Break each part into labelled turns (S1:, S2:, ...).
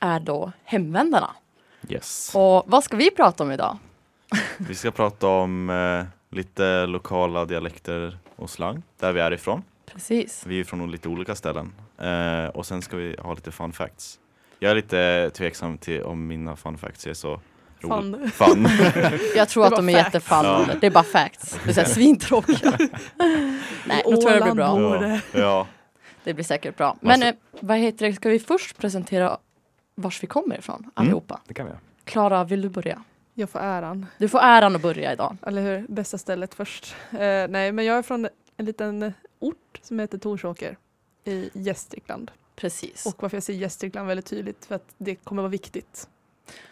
S1: Eh, är då Hemvändarna.
S2: Yes.
S1: Och vad ska vi prata om idag?
S2: Vi ska prata om eh, lite lokala dialekter och slang, där vi är ifrån.
S1: Precis.
S2: Vi är från lite olika ställen. Eh, och sen ska vi ha lite fun facts. Jag är lite tveksam till om mina fun facts är så roliga.
S3: Fan.
S2: Fun.
S1: Jag tror
S3: Det
S1: att
S3: var
S1: de är
S3: facts.
S1: jättefallande.
S2: Ja.
S1: Det är bara facts. Det är så här svintråkiga. Nej, då tror jag det blir bra.
S3: Åland.
S2: ja. ja.
S1: Det blir säkert bra.
S2: Man
S1: Men eh, vad heter det, ska vi först presentera vars vi kommer ifrån allihopa?
S2: Det kan vi göra.
S1: Klara, vill du börja?
S3: Jag får äran,
S1: Du får äran att börja idag.
S3: eller hur? Bästa stället först. Eh, nej, men jag är från en liten ort som heter Torsåker i Gästrikland.
S1: Precis.
S3: Och varför jag säger Gästrikland väldigt tydligt för att det kommer vara viktigt.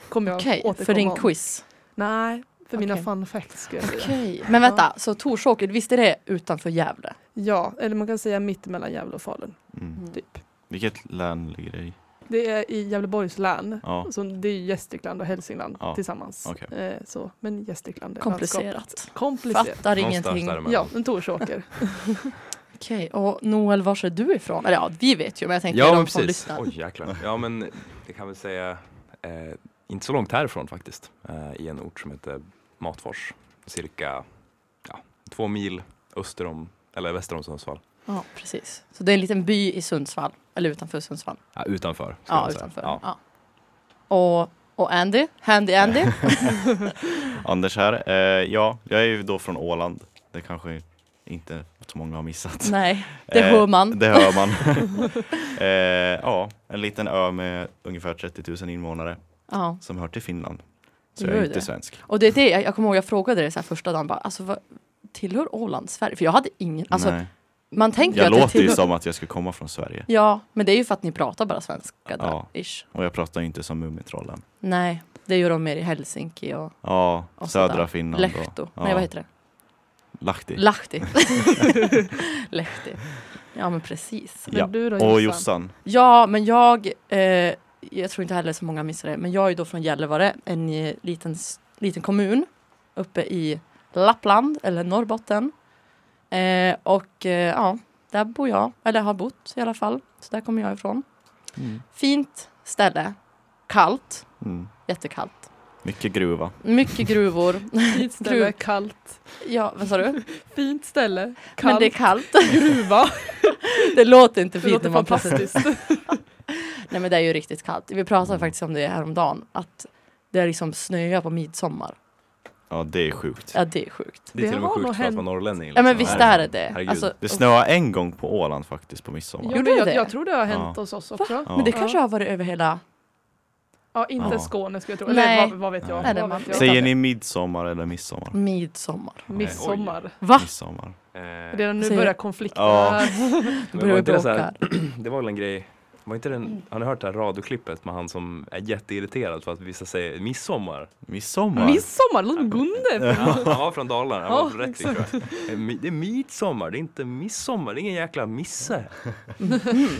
S3: Kommer jag
S1: Okej,
S3: återkomma
S1: för din
S3: om.
S1: quiz.
S3: Nej, för mina
S1: Okej.
S3: fun facts skulle jag säga.
S1: Okej. Men vänta, så Torsåker, visst är det utanför Gävle?
S3: Ja, eller man kan säga mitt mellan Gävle och Falun.
S2: Mm.
S3: Typ.
S2: Vilket län ligger det i?
S3: Det är i Gävleborgs län.
S2: Ja.
S3: Så det är Gästrikland och Hälsingland
S2: Ja,
S3: tillsammans.
S2: okej.
S3: Eh, så. Men Gästrikland är landskapet.
S1: Komplicerat.
S3: Komplicerat.
S1: Fattar
S4: Någonstans
S1: ingenting.
S4: däremellan.
S3: Ja, en Torsåker.
S1: Okej, och Noel, var är du ifrån? Eller ja, vi vet ju, men jag tänker
S4: Ja,
S1: de
S4: men
S1: som
S4: precis.
S1: lyssnar.
S4: Oj, jäklar. Ja, men jag kan väl säga eh, inte så långt härifrån faktiskt, eh, i en ort som heter Matfors, cirka ja, två mil öster om, eller väster om Sundsvall.
S1: Ja, precis. Så det är en liten by i Sundsvall, eller utanför Sundsvall.
S4: Ja, utanför. ska
S1: Ja,
S4: man säga.
S1: utanför.
S4: Ja.
S1: Ja. Och, och Andy, Handy Andy.
S2: Anders här. Eh, ja, jag är ju då från Åland. Det kanske inte så många har missat.
S1: Nej, det
S2: Eh,
S1: hör man.
S2: Det hör man. eh, ja, en liten ö med ungefär 30 000 invånare
S1: Ja.
S2: som hör till Finland. Så
S1: Det
S2: jag är
S1: gör
S2: inte
S1: det.
S2: svensk.
S1: Och det är det, jag, jag kommer ihåg jag frågade dig så här första dagen, bara, alltså, vad, tillhör Åland Sverige? För jag hade ingen, alltså
S2: Nej.
S1: man tänker ju
S2: Jag
S1: att det
S2: låter ju
S1: tillhör...
S2: som att jag ska komma från Sverige.
S1: Ja, men det är ju för att ni pratar bara svenska där,
S2: Ja.
S1: ish.
S2: Och jag pratar ju inte som Mumintrollen.
S1: Nej, det gör de mer i Helsinki och
S2: Ja,
S1: Och sådär.
S2: södra Finland. och-
S1: Lehto.
S2: Ja,
S1: Nej, vad heter det?
S2: Lahti.
S1: Lahti. Lehti. Ja, men precis.
S3: Men
S2: Ja.
S3: du då
S2: och
S3: Jossan?
S2: Jossan.
S1: Ja, men jag, eh, jag tror inte heller så många missar det, men jag är då från Gällivare, en eh, liten, s- liten kommun uppe i Lappland eller Norrbotten. Eh, och eh, ja, där bor jag, eller har bott i alla fall, så där kommer jag ifrån.
S2: Mm.
S1: Fint ställe, kallt,
S2: Mm.
S1: jättekallt.
S2: Mycket gruva.
S1: Mycket gruvor.
S3: Fint ställe,
S1: Gud.
S3: kallt.
S1: Ja, vad sa du?
S3: Fint ställe, kallt.
S1: Men det är kallt.
S3: gruva.
S1: Det låter inte
S3: Det
S1: fint
S3: låter
S1: när man pratar
S3: fantastiskt.
S1: Nej men det är ju riktigt kallt. Vi
S2: Mm.
S1: pratade faktiskt om det häromdagen, att det är liksom snöar på midsommar.
S2: Ja, det är sjukt.
S1: Ja, det är sjukt.
S4: Det är
S3: Det
S4: till och med
S3: har nog
S4: sjukt för att
S3: hänt.
S4: vara norrlänning.
S1: Ja men
S4: liksom.
S1: visst
S4: Nej.
S1: är det det.
S4: Herregud.
S1: Alltså,
S2: Alltså, Det snöade en gång på Åland faktiskt på midsommar.
S3: Jo,
S1: Gjorde
S3: men jag,
S1: det?
S3: jag tror det har hänt
S2: Ja.
S3: hos oss också.
S2: Ja.
S1: men det kanske
S3: Ja.
S1: har varit över hela...
S3: Ja, inte
S2: Ja.
S3: Skåne skulle jag tro.
S1: Nej.
S3: Eller vad, vad vet jag?
S1: Nej, det
S3: vad
S1: man-
S3: vet jag?
S2: Säger ni midsommar eller midsommar?
S1: Midsommar.
S3: Midsommar.
S1: Va?
S2: Midsommar.
S4: Eh,
S3: Redan nu
S1: Säger-
S3: börjar konflikten.
S2: Ja. Mm.
S1: Då
S4: men var
S1: börjar vi
S4: inte
S1: bråka
S4: det, så här,
S1: här.
S4: det var väl en grej, var inte den, har ni hört det här radioklippet med han som är jätteirriterad för att vissa säger midsommar?
S2: Midsommar?
S3: Mm. Midsommar, låter som Gunde.
S4: Han var från Dalarna, han var
S3: Ja,
S4: från Rättvik tror jag. Eh, mi- Det är midsommar, det är inte midsommar, det är ingen jäkla misse.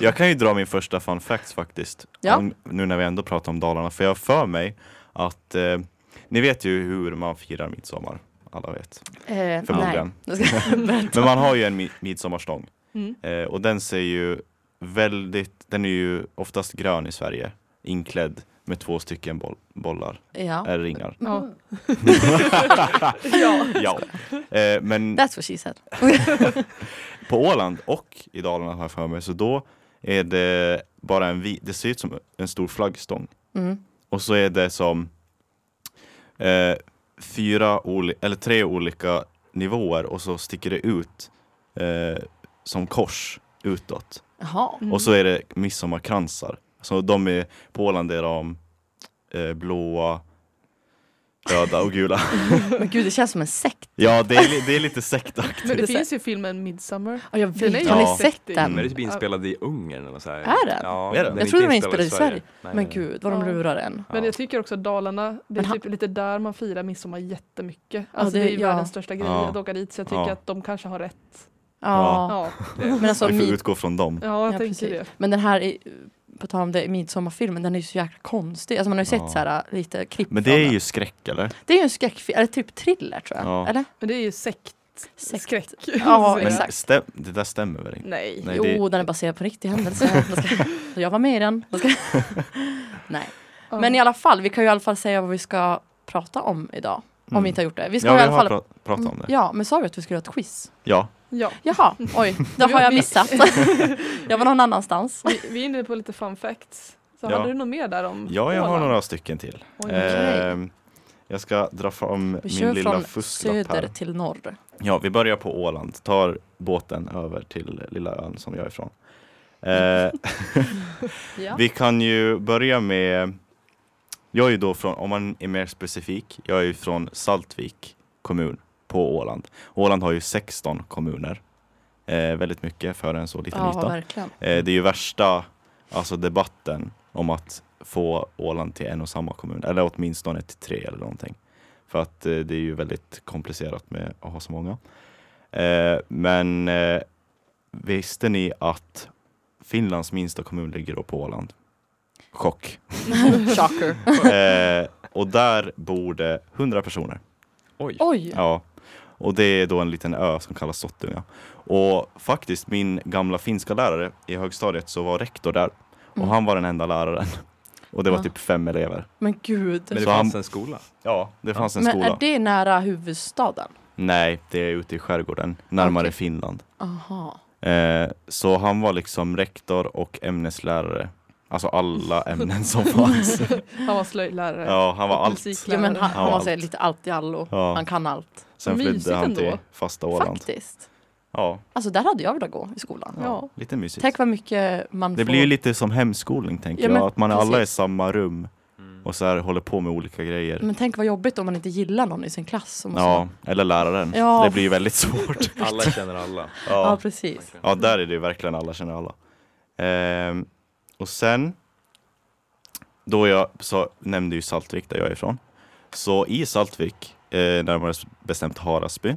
S2: Jag kan ju dra min första fun facts faktiskt.
S1: Ja.
S2: Om, nu när vi ändå pratar om Dalarna. För jag har för mig att eh, ni vet ju hur man firar midsommar. Alla vet.
S1: Eh,
S2: Förmodligen.
S1: Nej. Nu ska-
S2: Men man har ju en mi- midsommarstång.
S3: Mm.
S2: Eh, och den ser ju väldigt, den är ju oftast grön i Sverige. Inklädd med två stycken boll, bollar,
S1: ja. Mm.
S2: eller ringar.
S3: Ja.
S2: Ja. Eh, men
S1: That's what she said.
S2: på Åland och i Dalarna har jag för mig, så då är det bara en vit, det ser ut som en stor flaggstång.
S1: Mm.
S2: Och så är det som eh, fyra oli- eller tre olika nivåer och så sticker det ut eh, som kors utåt.
S1: Jaha.
S3: Mm.
S2: Och så är det midsommarkransar. Så de är, på Åland är de eh, blåa, röda och gula.
S1: Men gud, det känns som en sekt.
S2: ja, det är, li- det är lite sektaktigt.
S3: Men
S1: Det är
S3: det finns ju filmen Midsommar.
S1: Ja, jag
S3: Den är
S1: vet.
S3: ju
S1: Har ni
S2: Ja.
S1: sett
S3: riktigt-
S1: den?
S2: Mm.
S4: Men det är typ inspelad i Ungern eller så här.
S1: Mm. Är den?
S4: Ja,
S2: Är den?
S4: den
S1: Jag
S4: är
S1: trodde
S4: inte
S1: den var inspelad i Sverige.
S4: Nej,
S1: Men
S4: nej.
S1: gud, vad de
S3: Ja.
S1: lurar en.
S3: Men
S4: Ja.
S3: jag tycker också Dalarna, det
S1: Men
S3: är
S1: han-
S3: typ lite där man firar midsommar jättemycket.
S1: Ja,
S3: Alltså
S1: det-
S3: det, är ju
S1: ja.
S3: världens största grej
S2: Ja.
S3: att åka dit så jag tycker
S2: Ja.
S3: att de kanske har rätt.
S1: Ja.
S3: Ja,
S1: Men alltså,
S2: Vi får
S1: mid-
S2: utgå från dem.
S3: ja jag
S1: Ja,
S3: tänker
S1: precis. Men den här, i- på tal om det, midsommarfilmen, den är ju så jäkla konstig. Alltså man har ju sett
S2: Ja.
S1: så här, lite klipp
S2: Men
S1: från
S2: det är
S1: den.
S2: ju skräck eller?
S1: Det är ju en skräckfilm, eller typ thriller tror jag.
S2: Ja.
S1: Eller?
S3: det. Men det är ju sekt
S1: Sekt.
S3: skräck.
S1: Ja,
S3: Så-
S2: Men
S1: exakt.
S2: stäm, det där stämmer väl inte?
S3: Nej.
S2: Nej,
S1: jo,
S2: det-
S1: den är baserad på riktig händelse. Jag ska- Så jag var med i den. Jag ska- Nej.
S3: Ja.
S1: Men i alla fall, vi kan ju i alla fall säga vad vi ska prata om idag. Om vi inte har gjort det. Vi ska
S2: Mm. ja,
S1: i
S2: vi
S1: alla
S2: har
S1: fall... Mm,
S2: pra- pratat om det.
S1: Ja, men sa du att vi skulle ha ett quiz?
S2: Ja,
S3: ja.
S1: Jaha, oj, det har jag missat. jag var någon annanstans.
S3: Vi, vi är inne på lite fun facts. Så
S2: Ja.
S3: hade du något mer där om
S2: ja jag har
S3: Åland?
S2: några stycken till.
S3: Oj,
S2: Ehm, jag ska dra fram
S1: Vi
S2: min
S1: kör
S2: lilla
S1: från
S2: fusklapp
S1: söder
S2: här.
S1: till norr.
S2: Ja, vi börjar på Åland, tar båten över till lilla ön som jag är ifrån. Eh,
S1: Ja.
S2: Vi kan ju börja med Jag är ju då från, om man är mer specifik, jag är ju från Saltvik kommun på Åland. Åland har ju 16 kommuner. Eh, väldigt mycket för en så liten
S1: Ja,
S2: yta.
S1: verkligen.
S2: Eh, det är ju värsta alltså debatten om att få Åland till en och samma kommun, eller åtminstone till tre eller någonting. För att eh, det är ju väldigt komplicerat med att ha så många. Eh, men eh, visste ni att Finlands minsta kommun ligger då på Åland? Chock.
S1: Shocker.
S2: Eh, och där bor det 100 personer.
S4: Oj.
S1: Oj,
S2: Ja. Och det är då en liten ö som kallas Sottunga. Och faktiskt min gamla finska lärare i högstadiet så var rektor där och
S1: Mm.
S2: han var den enda läraren. Och det var
S1: Ja.
S2: typ fem elever.
S1: men gud.
S4: Men
S1: Men,
S4: det
S2: Så
S4: fanns
S2: han-
S4: en skola.
S2: Ja, det fanns en skola.
S1: är det nära huvudstaden?
S2: Nej, det är ute i skärgården, närmare
S1: Okej.
S2: Finland.
S1: Aha.
S2: Eh, så han var liksom rektor och ämneslärare. Alltså alla ämnen som fanns.
S3: Han var slöjdlärare.
S2: Ja, han var
S3: Och
S2: allt.
S3: musiklärare.
S1: Jo, men han, han
S2: Ja,
S1: var så här
S2: allt.
S1: lite allt i allo.
S2: Ja.
S1: Han kan allt.
S2: Sen
S3: Mysigt
S2: flydde han till
S3: ändå.
S2: fasta Åland.
S1: Faktiskt.
S2: Ja,
S1: Alltså där hade jag velat gå i skolan.
S3: Ja.
S2: lite mysigt.
S1: Tänk vad mycket man
S2: typ. Det
S1: får.
S2: blir ju lite som hemskolning tänker
S1: Ja, men
S2: jag, att man alla är i
S1: precis.
S2: samma rum
S4: Mm.
S2: och så här håller på med olika grejer.
S1: Men tänk vad jobbigt om man inte gillar någon i sin klass. Om
S2: ja, eller läraren.
S1: Ja.
S2: Det blir ju väldigt svårt.
S4: Alla känner alla.
S1: ja,
S2: Ja.
S1: precis.
S2: ja, där är det ju verkligen alla känner alla. Ehm, och sen, då jag så nämnde ju Saltvik där jag är ifrån. Så i Saltvik, eh, närmare bestämt Harasby,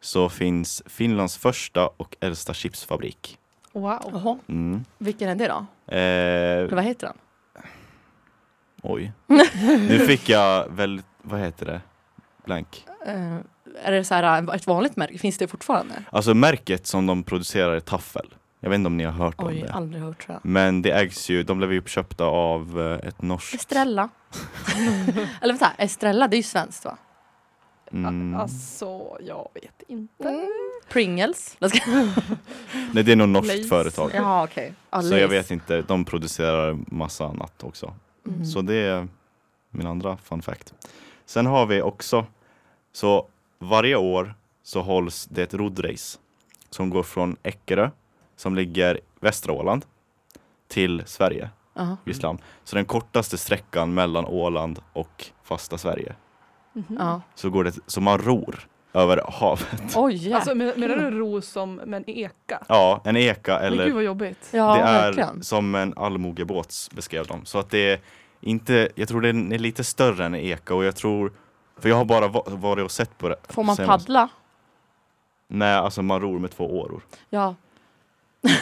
S2: så finns Finlands första och äldsta chipsfabrik.
S3: Wow.
S1: Jaha,
S2: Mm.
S1: vilken är det då?
S2: Eh,
S1: Eller vad heter den?
S2: Oj. Nu fick jag väldigt, vad heter det? Blank.
S1: Eh, är det så här, eh, ett vanligt märke? Finns det fortfarande?
S2: Alltså märket som de producerar är taffel. Jag vet inte om ni har hört om
S1: Oj,
S2: det.
S1: aldrig hört tror jag.
S2: Men det ägs ju, de blev ju uppköpta av eh, ett norskt...
S1: Estrella. Eller vänta, Estrella det är ju svenskt va?
S2: Mm.
S3: Alltså, jag vet inte.
S1: Mm. Pringles? Jag ska-
S2: Nej, det är något norskt
S3: Lace.
S2: företag.
S1: Jaha okej. Ja,
S2: Så jag
S1: Lays.
S2: vet inte, de producerar massa annat också.
S1: Mm.
S2: Så det är min andra fun fact. Sen har vi också, så varje år så hålls det ett rodrace som går från Eckerö, som ligger västra Åland, till Sverige,
S1: Jaha.
S2: Ryssland. Så den kortaste sträckan mellan Åland och fasta Sverige.
S3: Mhm.
S1: Ja.
S2: Så, går det, så man ror över havet.
S1: Oj, jäklar.
S3: Alltså, men- menar du ros som med en eka?
S2: Ja, en eka
S3: Eller...
S2: eller
S3: Gud vad jobbigt.
S1: ja,
S2: det är
S1: verkligen.
S2: som en allmogebåt beskrev de. Så att det är inte, jag tror den är lite större än en eka och jag tror, för jag har bara va- varit och sett på det.
S1: Får man
S2: Sen-
S1: paddla?
S2: Nej, alltså man ror med två åror.
S1: Ja.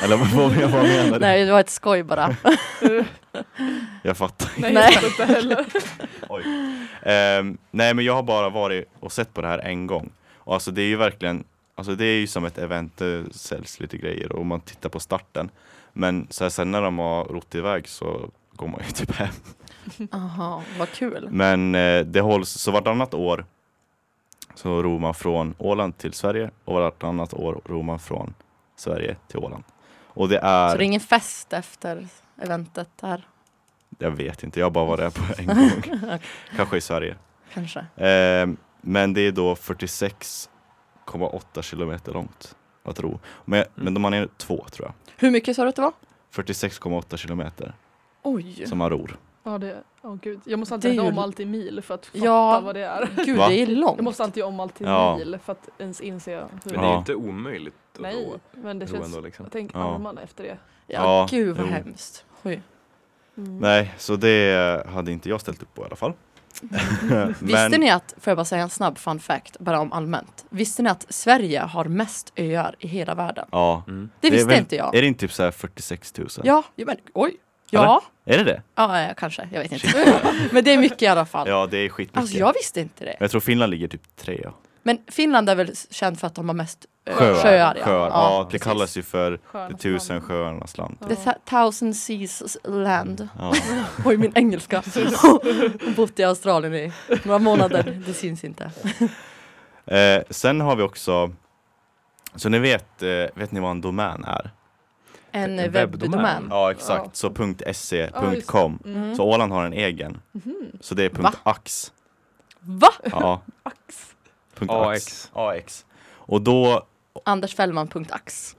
S2: Eller vad, vad jag vad menar du?
S1: Nej, det var ett skoj bara.
S2: Jag fattar.
S3: Nej,
S1: Nej.
S3: jag fattar inte heller.
S2: Oj. Ehm, nej, men jag har bara varit och sett på det här en gång. Och alltså det är ju verkligen, alltså det är ju som ett event, det säljs lite grejer och man tittar på starten. Men så här, sen när de har rott iväg så går man ju typ hem.
S1: Jaha, vad kul.
S2: Men eh, det hålls, så vartannat år så ror man från Åland till Sverige och vartannat år ror man från Sverige till Åland. Och det är,
S1: Så det är ingen fest efter eventet där,
S2: jag vet inte, jag har bara varit där på en gång. Kanske i Sverige.
S1: kanske?
S2: Eh, men det är då 46,8 kilometer långt att ro. Men,
S1: Mm.
S2: men de man är två tror jag.
S1: Hur mycket sa du att det var?
S2: 46,8 kilometer
S1: Oj.
S2: som man ror.
S3: Ja, det, oh, gud. Jag måste
S1: Det
S3: alltid
S1: är
S3: göra
S1: ju-
S3: om allt i mil för att fatta
S1: Ja.
S3: vad det är.
S1: Gud,
S2: Va?
S1: det är
S3: Jag
S1: långt.
S3: måste alltid göra om allt i
S2: Ja.
S3: mil för att ens inse hur...
S4: Men det är ju
S2: Ja.
S4: inte omöjligt att
S3: Nej,
S4: ro-
S3: men det
S4: ro
S3: känns...
S4: ändå liksom.
S3: Tänk
S2: Ja.
S3: armarna efter det.
S1: Ja,
S2: Ja,
S1: gud vad
S2: jo.
S1: hemskt. Oj.
S3: Mm.
S2: Nej, så det hade inte jag ställt upp på i alla fall.
S1: Visste ni att, får jag bara säga en snabb fun fact, bara om allmänt. Visste ni att Sverige har mest öar i hela världen?
S2: Ja,
S4: Mm.
S1: Det,
S2: Det är
S1: visste
S2: väl-
S1: inte jag.
S2: Är det inte typ så här 46 000?
S1: Ja, ja, men oj. Ja.
S2: Är det det?
S1: ja, ja, kanske. Jag vet inte. men det är mycket i alla fall.
S2: Ja, det är skitmycket.
S1: Alltså jag visste inte det.
S2: Jag tror Finland ligger typ trea.
S1: Men Finland är väl känd för att de har mest eh,
S2: Sjöar.
S1: sjöar ja. Ja.
S2: Sjöar. Ja, det kallas ju för
S3: Sköna
S2: de tusen
S3: stan.
S2: sjöarnas land.
S3: Ja.
S1: The th- thousand seas land.
S2: Ja.
S1: Oj, min engelska. Hon bott i Australien i några månader. Det syns inte.
S2: Eh, sen har vi också, så ni vet, eh, vet ni vad en domän är?
S1: En
S4: En
S1: webbdomän.
S4: webbdomän.
S2: Ja exakt,
S3: Ja.
S2: så
S3: Ja, just det.
S2: .se.com
S3: Mm.
S1: Mm.
S2: Så Åland har en egen,
S3: Mhm.
S2: så det är
S1: Va?
S2: .ax.
S1: Va?
S2: Ja.
S3: Ax.
S2: Punkt
S4: AX.
S2: AX. Och då,
S1: Andersfällman.ax.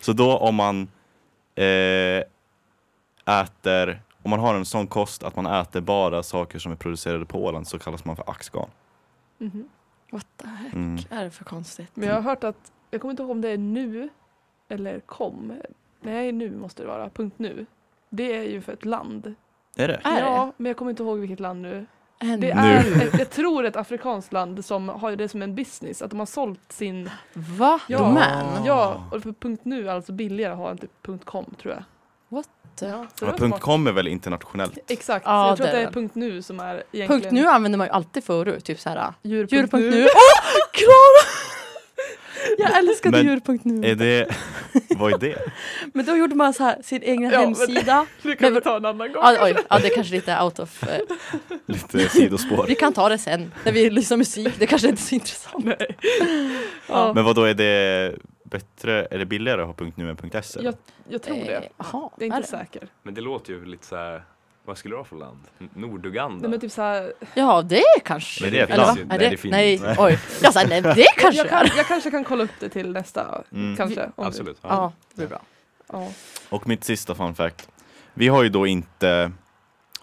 S2: så då om man eh, äter, om man har en sån kost att man äter bara saker som är producerade på Åland så kallas man för axgarn.
S3: Mhm.
S1: What the heck
S2: Mm.
S1: är det för konstigt?
S3: Men jag har hört att, jag kommer inte ihåg om det är nu eller kom. Nej, nu måste det vara. Punkt nu. Det är ju för ett land.
S2: Är det?
S1: Är
S3: ja, men jag kommer inte ihåg vilket land nu.
S1: En
S3: Det är, ett, jag tror ett afrikanskt land som har det som en business, att de har sålt sin,
S1: Va?
S3: Ja.
S1: Domän?
S3: ja, och för punkt nu är alltså billigare att ha än typ punkt com tror jag.
S1: What the-
S3: Ja, så det
S2: Ja,
S3: var
S2: punkt
S3: smart.
S2: .com är väl internationellt?
S3: Exakt,
S1: Ja,
S3: så jag tror
S1: det
S3: att det
S1: är
S3: är
S1: den.
S3: punkt nu som är egentligen
S1: Punkt nu använder man ju alltid förut, typ såhär
S3: djur.nu.
S1: djur.nu. Åh, Klara! Jag älskade
S2: Men- Är
S1: djur.nu.
S2: det, vad är det?
S1: Men då gjorde man så här sin egen
S3: Ja, men-
S1: hemsida.
S3: Det kan vi
S1: Men-
S3: ta en annan gång.
S1: Ja, oj, ja, det är kanske lite out of... Eh,
S2: Lite sidospår.
S1: vi kan ta det sen, när vi lyssnar musik. Det kanske inte är så intressant.
S3: Nej.
S1: Ja.
S3: Ja.
S2: Men vad då är det bättre, är det billigare att ha .nu än .se?
S3: Jag, jag tror det.
S1: Eh, Jaha,
S3: Jag är inte
S1: är det?
S3: säker.
S4: Men det låter ju lite så här, vad skulle det vara för land? N- Norduganda?
S3: Nej, men typ så här,
S1: Ja, det är kanske...
S2: Men det är ett
S1: Eller va?
S2: land.
S1: Är
S4: Nej,
S1: det,
S4: det finns
S1: nej,
S4: inte.
S1: oj. Jag sa nej, det kanske
S3: jag,
S1: det
S3: kan,
S1: är.
S3: jag kanske kan kolla upp det till nästa.
S2: Mm.
S3: Kanske. om vi-
S4: Absolut. Ja.
S1: Ja, det blir bra.
S3: Ja.
S2: Och mitt sista fun fact. Vi har ju då inte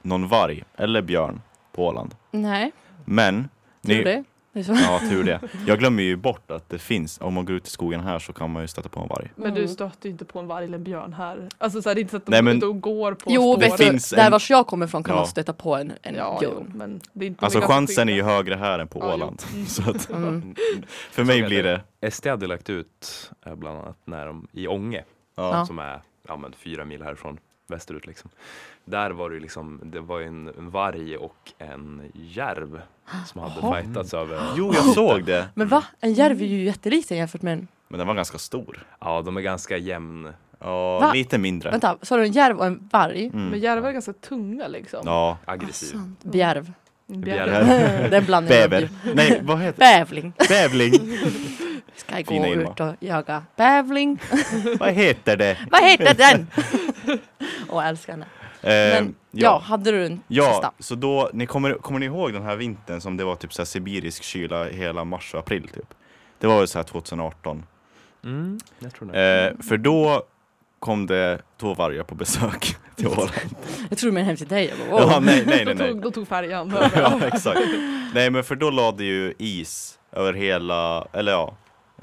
S2: någon varg eller björn på Åland.
S1: Nej,
S2: Men...
S1: tror det. det är så.
S2: Ja, tur det. Jag glömmer ju bort att det finns, om man går ut i skogen här så kan man ju stöta på en varg.
S3: Men du
S1: Mm.
S3: stöter ju inte på en varg eller en björn här. Alltså så här, det är inte så att de
S2: Nej, men-
S3: är ute och går på
S1: Jo,
S3: spår.
S1: vet du,
S2: finns
S1: där
S2: en-
S1: vars jag kommer ifrån kan
S2: Ja.
S1: man stöta på en, en
S3: Ja, jo,
S1: björn.
S3: men det är inte
S2: Alltså
S3: de är ganska
S2: chansen är ju
S3: skygga.
S2: högre här än på
S3: Ja, jo.
S2: Åland. Så att,
S1: Mm.
S2: för mig blir det...
S4: SD hade lagt ut eh, bland annat när de, i Ånge,
S2: Ja.
S4: som är ja, men, fyra mil härifrån västerut. Liksom. Där var det ju liksom, det var ju en, en varg och en järv som hade
S1: Jaha.
S4: fightats över.
S2: Jo, jag såg det.
S1: Men va? En järv är ju jätteliten jämfört med en...
S2: Men den var ganska stor.
S4: Ja, de är ganska jämn.
S2: Ja,
S1: Va?
S2: lite mindre.
S1: Vänta, sa du en järv och en varg?
S3: Men
S2: Mm.
S3: järvar är ganska tunga liksom.
S2: Ja.
S4: aggressiv.
S1: Ah, sant. Bjärv.
S4: Bjärv.
S2: Bjärv.
S1: det är en blandning av
S2: Bäver.
S1: djur.
S2: Nej, vad heter
S1: Bävling.
S2: Bävling.
S1: Ska jag
S2: Fina
S1: gå
S2: Irma.
S1: ut och jaga bävling?
S2: Vad heter det?
S1: Vad heter den? Åh, jag älskar henne.
S2: Eh,
S1: Men, Ja, hade du en
S2: Ja,
S1: sista?
S2: så då, ni kommer, kommer ni ihåg den här vintern som det var typ så här sibirisk kyla hela mars och april typ? Det var väl så här 2018.
S4: Mm, jag tror det.
S2: Eh, för då kom det två vargar på besök till Åland.
S1: Jag tror du menade hem till dig. Jag bara, wow.
S2: Ja, nej, nej,
S3: då,
S2: nej, nej.
S3: tog, då tog färjan över.
S2: ja, exakt. Nej, men för då lade ju is över hela, eller ja,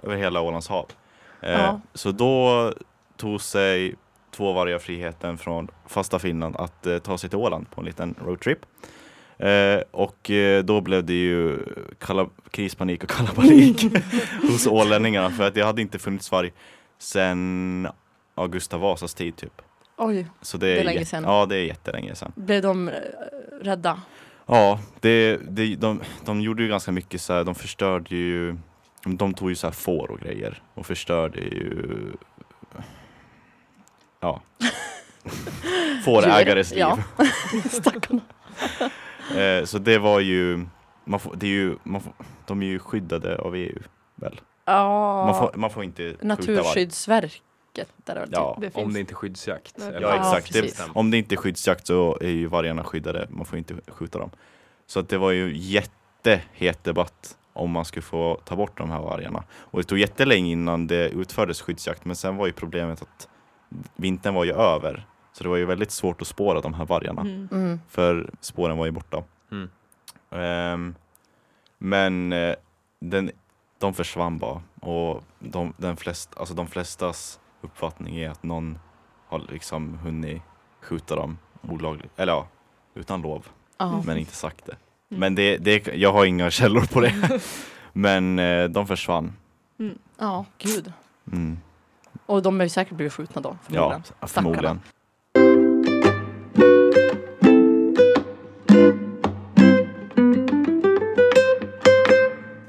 S2: över hela Ålands hav. Eh,
S1: Ja.
S2: Så då tog sig två vargar friheten från fasta Finland att eh, ta sig till Åland på en liten roadtrip. Eh, och eh, då blev det ju kala, krispanik och kalabalik hos ålänningarna för att det hade inte funnits varg sedan ja, Gustav Vasas tid typ.
S1: Oj,
S2: Så det är,
S1: är länge
S2: jätte-
S1: sedan.
S2: Ja, det är jättelänge sedan.
S1: blev de eh, rädda?
S2: Ja, det, det, de, de gjorde ju ganska mycket så här, de förstörde ju, de tog ju så här får och grejer och förstörde ju, ja, fårägares liv.
S1: Ja. Stackarna.
S2: Eh, så det var ju, man får, det är ju man får, de är ju skyddade av EU väl? Man
S1: Ja,
S2: får, man får inte skjuta varg.
S1: Naturskyddsverket. Där det var typ.
S2: Ja.
S3: Det finns.
S4: Om det inte är skyddsjakt.
S3: Ja,
S4: eller-
S2: exakt.
S1: Det- precis.
S2: Om det inte är skyddsjakt så är ju vargarna skyddade, man får inte skjuta dem. Så att det var ju jättehet debatt om man skulle få ta bort de här vargarna. Och det tog jättelänge innan det utfördes skyddsjakt, men sen var ju problemet att vintern var ju över. Så det var ju väldigt svårt att spåra de här vargarna,
S3: Mm.
S1: Mm.
S2: för spåren var ju borta.
S4: Mm.
S2: Ehm, men eh, den, de försvann bara och de, den flest, alltså de flestas uppfattning är att någon har liksom hunnit skjuta dem olagligt, eller ja, utan lov,
S1: Ja.
S2: men inte sagt det.
S3: Mm.
S2: Men det, det, jag har inga källor på det. Men eh, de försvann.
S1: ja, gud.
S2: Mm.
S1: Och de har ju säkert blivit skjutna då.
S2: Ja,
S1: förmodligen.
S2: förmodligen.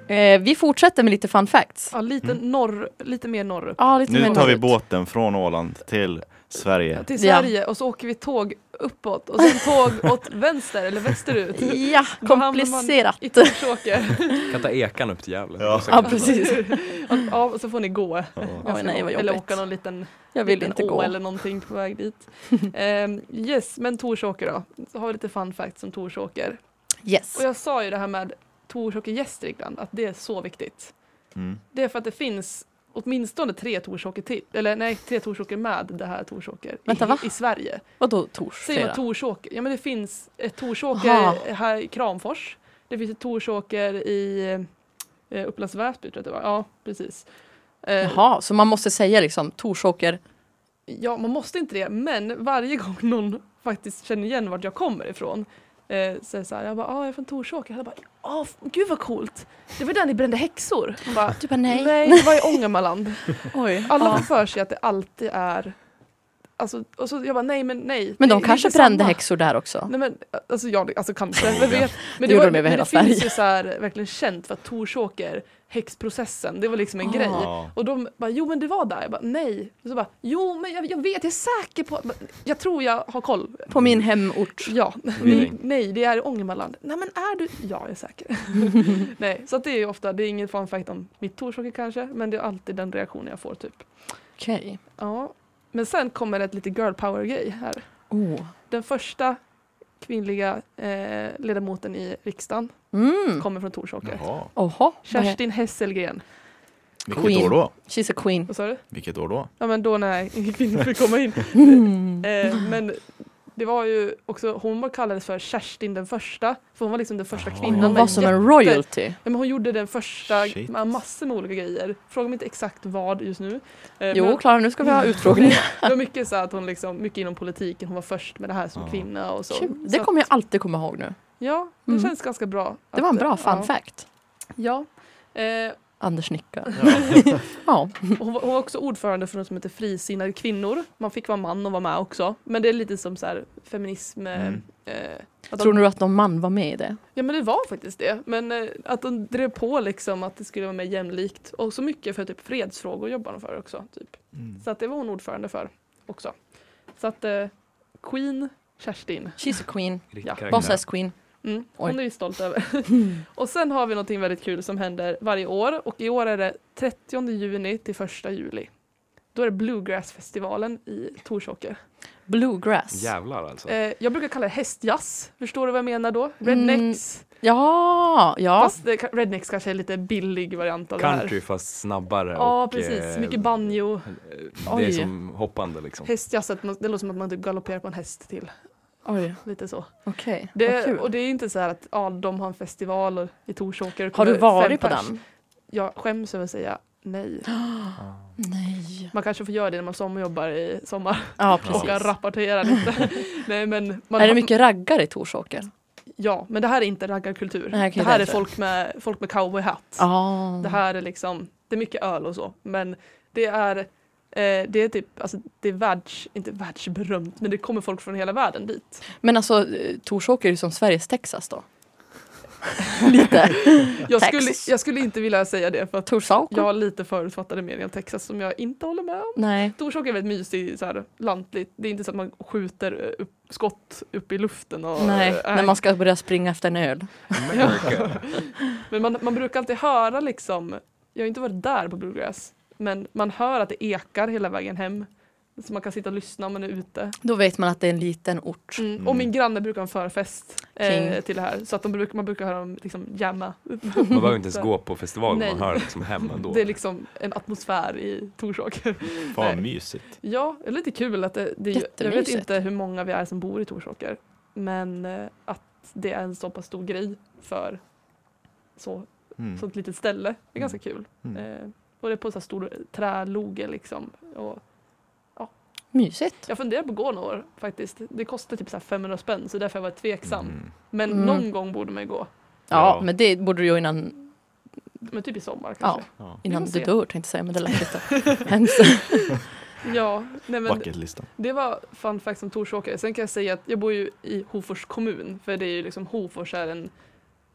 S1: Eh, vi fortsätter med lite fun facts.
S3: Ja, lite,
S2: Mm.
S3: norr, lite mer norrut.
S1: Ja, lite mer
S2: Nu tar vi
S1: norrut.
S2: båten från Åland till Sverige.
S3: Till
S1: Ja.
S3: Sverige och så åker vi tåg uppåt och sen tåg åt vänster eller västerut.
S1: Ja,
S3: Då hamnar man
S1: komplicerat.
S3: I Torsåker.
S4: Kan ta ekan upp till Gävle.
S2: Ja.
S4: Så kan
S1: Ja,
S4: man-
S1: precis.
S3: ja, och så får ni gå.
S2: Ja.
S1: Oj, nej, vad
S3: eller
S1: jobbigt.
S3: åka någon liten
S1: Jag vill
S3: liten
S1: inte
S3: å
S1: gå.
S3: eller någonting på väg dit. Ehm, yes, men Torsåker då. Så har vi lite fun facts om Torsåker.
S1: Yes.
S3: Och jag sa ju det här med Torsåker Gästrikland, att det är så viktigt.
S2: Mm.
S3: Det är för att det finns åtminstone tre Torsåker till, eller nej, tre Torsåker med det här Torsåker
S1: Vänta,
S3: i,
S1: va?
S3: i Sverige.
S1: Vadå tors?
S3: Säger man
S1: fredag?
S3: Torsåker? Ja men det finns ett Torsåker
S1: Aha.
S3: här i Kramfors. Det finns ett Torsåker i eh, Upplands Väsby tror jag att det var. Ja, precis. Eh,
S1: Jaha, så man måste säga liksom Torsåker.
S3: Ja, man måste inte det, men varje gång någon faktiskt känner igen vart jag kommer ifrån eh, så är det så här, jag bara, ah, jag är från Torsåker. Alla bara, ah, f- gud vad coolt! Det var där ni brände häxor. Man bara,
S1: Du bara
S3: nej,
S1: nej.
S3: det var i Ångermanland.
S1: Oj.
S3: Alla
S1: Ja.
S3: får för sig att det alltid är, alltså, och så jag bara, nej men nej.
S1: Men de
S3: det är
S1: kanske
S3: inte samma."
S1: brände häxor där också.
S3: Nej men, alltså ja, det- alltså kanske, vem vet. Men
S1: Det gjorde
S3: var-
S1: de över
S3: men
S1: hela
S3: det finns
S1: Sverige.
S3: ju så här, verkligen känt för att Torsåker, häxprocessen, det var liksom en
S1: Ah.
S3: grej.
S2: Ja.
S3: Och de bara, jo men du var där. Jag bara, nej. Och så bara, jo men jag, jag vet, jag är säker på, jag tror jag har koll.
S1: På min hemort.
S3: Ja,
S4: Förvirring.
S3: Mm, nej det är i Ångermanland. Nej men är du, ja jag är säker. nej, så att det är ju ofta, det är ingen fun fact om mitt Torsåker kanske, men det är alltid den reaktionen jag får typ.
S1: Okej.
S3: Ja, men sen kommer ett lite girl power grej här.
S1: Oh.
S3: Den första kvinnliga eh, ledamoten i riksdagen
S1: Mm.
S3: kommer från Torsåker.
S2: Jaha.
S1: Oha.
S3: Kerstin Hesselgren.
S2: Vilket
S1: Queen.
S2: år då?
S1: She's a queen.
S3: Vad sa du?
S2: Vilket år då?
S3: Ja men då när kvinnor fick komma in.
S1: Mm.
S3: Eh, men det var ju också, hon var kallades för Kerstin den första, för hon var liksom den första
S2: Jaha.
S3: kvinnan.
S1: Hon var
S3: Men
S1: Ah, som
S3: jätte-
S1: en royalty.
S3: Ja, men hon gjorde den första,
S2: Shit.
S3: med massor med olika grejer. Fråga mig inte exakt vad just nu. Eh, men
S1: Jo, Klara, nu ska vi ha utfrågning.
S3: det var mycket så att hon liksom, mycket inom politiken, hon var först med det här som
S2: Ja.
S3: kvinna och så.
S1: Kul.
S3: så
S1: Det
S3: att-
S1: kommer jag alltid komma ihåg nu.
S3: Ja, det
S1: Mm.
S3: känns ganska bra.
S1: Det var en
S3: att-
S1: bra fun
S3: ja.
S1: fact.
S3: Ja. Eh,
S1: Anders nickar.
S2: Ja.
S1: Ja.
S3: hon, var, hon var också ordförande för något som heter Frisinnade kvinnor. Man fick vara man och vara med också. Men det är lite som så här feminism. eh,
S2: Mm.
S3: Eh, att
S1: Tror
S3: de,
S1: du att någon man var med i det?
S3: ja men det var faktiskt det. Men eh, att de drev på liksom att det skulle vara mer jämlikt. Och så mycket för typ fredsfrågor jobbar de för också. Typ.
S2: Mm.
S3: Så att det var hon ordförande för också. Så att eh, Queen Kerstin.
S1: She's a queen.
S4: Riktiga
S3: Ja.
S4: karaktär.
S1: Boss as queen.
S3: Mm,
S1: Oj.
S3: hon är vi stolta över. och sen har vi någonting väldigt kul som händer varje år och i år är det 30 juni till 1 juli. Då är det Bluegrassfestivalen i Torsåker.
S1: Bluegrass.
S4: Jävlar alltså.
S3: Eh, jag brukar kalla det hästjazz. Förstår du vad jag menar då? Rednecks.
S1: Ja, Mm, ja.
S3: Fast det, ka- rednecks kanske är lite billig variant av det
S4: Country
S3: här.
S4: fast snabbare
S3: Ja,
S4: och...
S3: precis.
S4: eh,
S3: Mycket banjo.
S4: Det är
S1: Oj.
S4: som hoppande liksom.
S3: Hästjazz, att man- det låter som att man typ galopperar på en häst till.
S1: Oj,
S3: Lite så.
S1: okej. Vad
S3: Det,
S1: kul.
S3: och det är inte så här att ja, de har en festival och- i Torsåker. och
S1: Har du
S3: kommer fem
S1: varit på
S3: pers.
S1: den?
S3: Jag skäms över att säga nej.
S1: Nej.
S3: Man kanske får göra det när man sommarjobbar i sommar
S1: Ja,
S3: och ska
S1: precis.
S3: rapportera lite. nej, men man,
S1: Är det mycket raggar i Torsåker?
S3: Ja, men det här är inte raggarkultur.
S1: Nej, okej,
S3: det här är
S1: därför.
S3: folk med, folk med cowboyhatt.
S1: Ja.
S3: Det här är liksom, det är mycket öl och så, men det är eh, det är typ, alltså det är världs, inte världsberömt, men det kommer folk från hela världen dit.
S1: Men alltså, eh, Torsåker är ju som Sveriges Texas då. Lite.
S3: Jag
S1: Texas.
S3: skulle, jag skulle inte vilja säga det för att
S1: Torsåker?
S3: jag har lite förutfattade meningar om Texas som jag inte håller med om.
S1: Nej.
S3: Torsåker är väldigt mysig, så här, lantligt. Det är inte så att man skjuter eh, upp, skott upp i luften. Och,
S1: Nej,
S3: eh,
S1: när man ska börja springa efter en öl.
S4: America.
S3: Men man, man brukar alltid höra liksom, jag har inte varit där på Bluegrass, men man hör att det ekar hela vägen hem. Så man kan sitta och lyssna om man är ute.
S1: Då vet man att det är en liten ort.
S3: Och min granne brukar ha en förfest eh,
S1: Mm. King.
S3: till det här. Så att de brukar, man brukar höra dem liksom jamma.
S4: Man behöver inte ens gå på festivalen, man
S3: Nej.
S4: hör liksom hem ändå.
S3: Det är liksom en atmosfär i Torsåker.
S2: Fan mysigt.
S3: Ja, det är lite kul att det, det är ju, jag vet
S1: Jättemysigt.
S3: inte hur många vi är som bor i Torsåker, men eh, att det är en så pass stor grej för så,
S2: Mm.
S3: så ett litet ställe är ganska kul.
S2: Mm.
S3: Eh, och det är på en sån här stor eh, träloge liksom. Och
S1: Mysigt.
S3: jag funderar på att gå några år faktiskt. Det kostar typ så här 500 spänn så därför har jag varit tveksam.
S2: Mm.
S3: Men
S1: Mm.
S3: någon gång borde man ju gå.
S1: Ja,
S2: Ja.
S1: men det borde du göra innan,
S3: Men typ i sommar
S1: ja,
S3: kanske.
S2: Ja.
S1: innan
S3: Vi får
S1: du
S3: se.
S1: dör tänkte jag säga, men det lät lite hemskt.
S3: Ja, nej men
S2: Bucketlista.
S3: det var fun facts om Torsåker. Sen kan jag säga att jag bor ju i Hofors kommun för det är ju liksom Hofors är en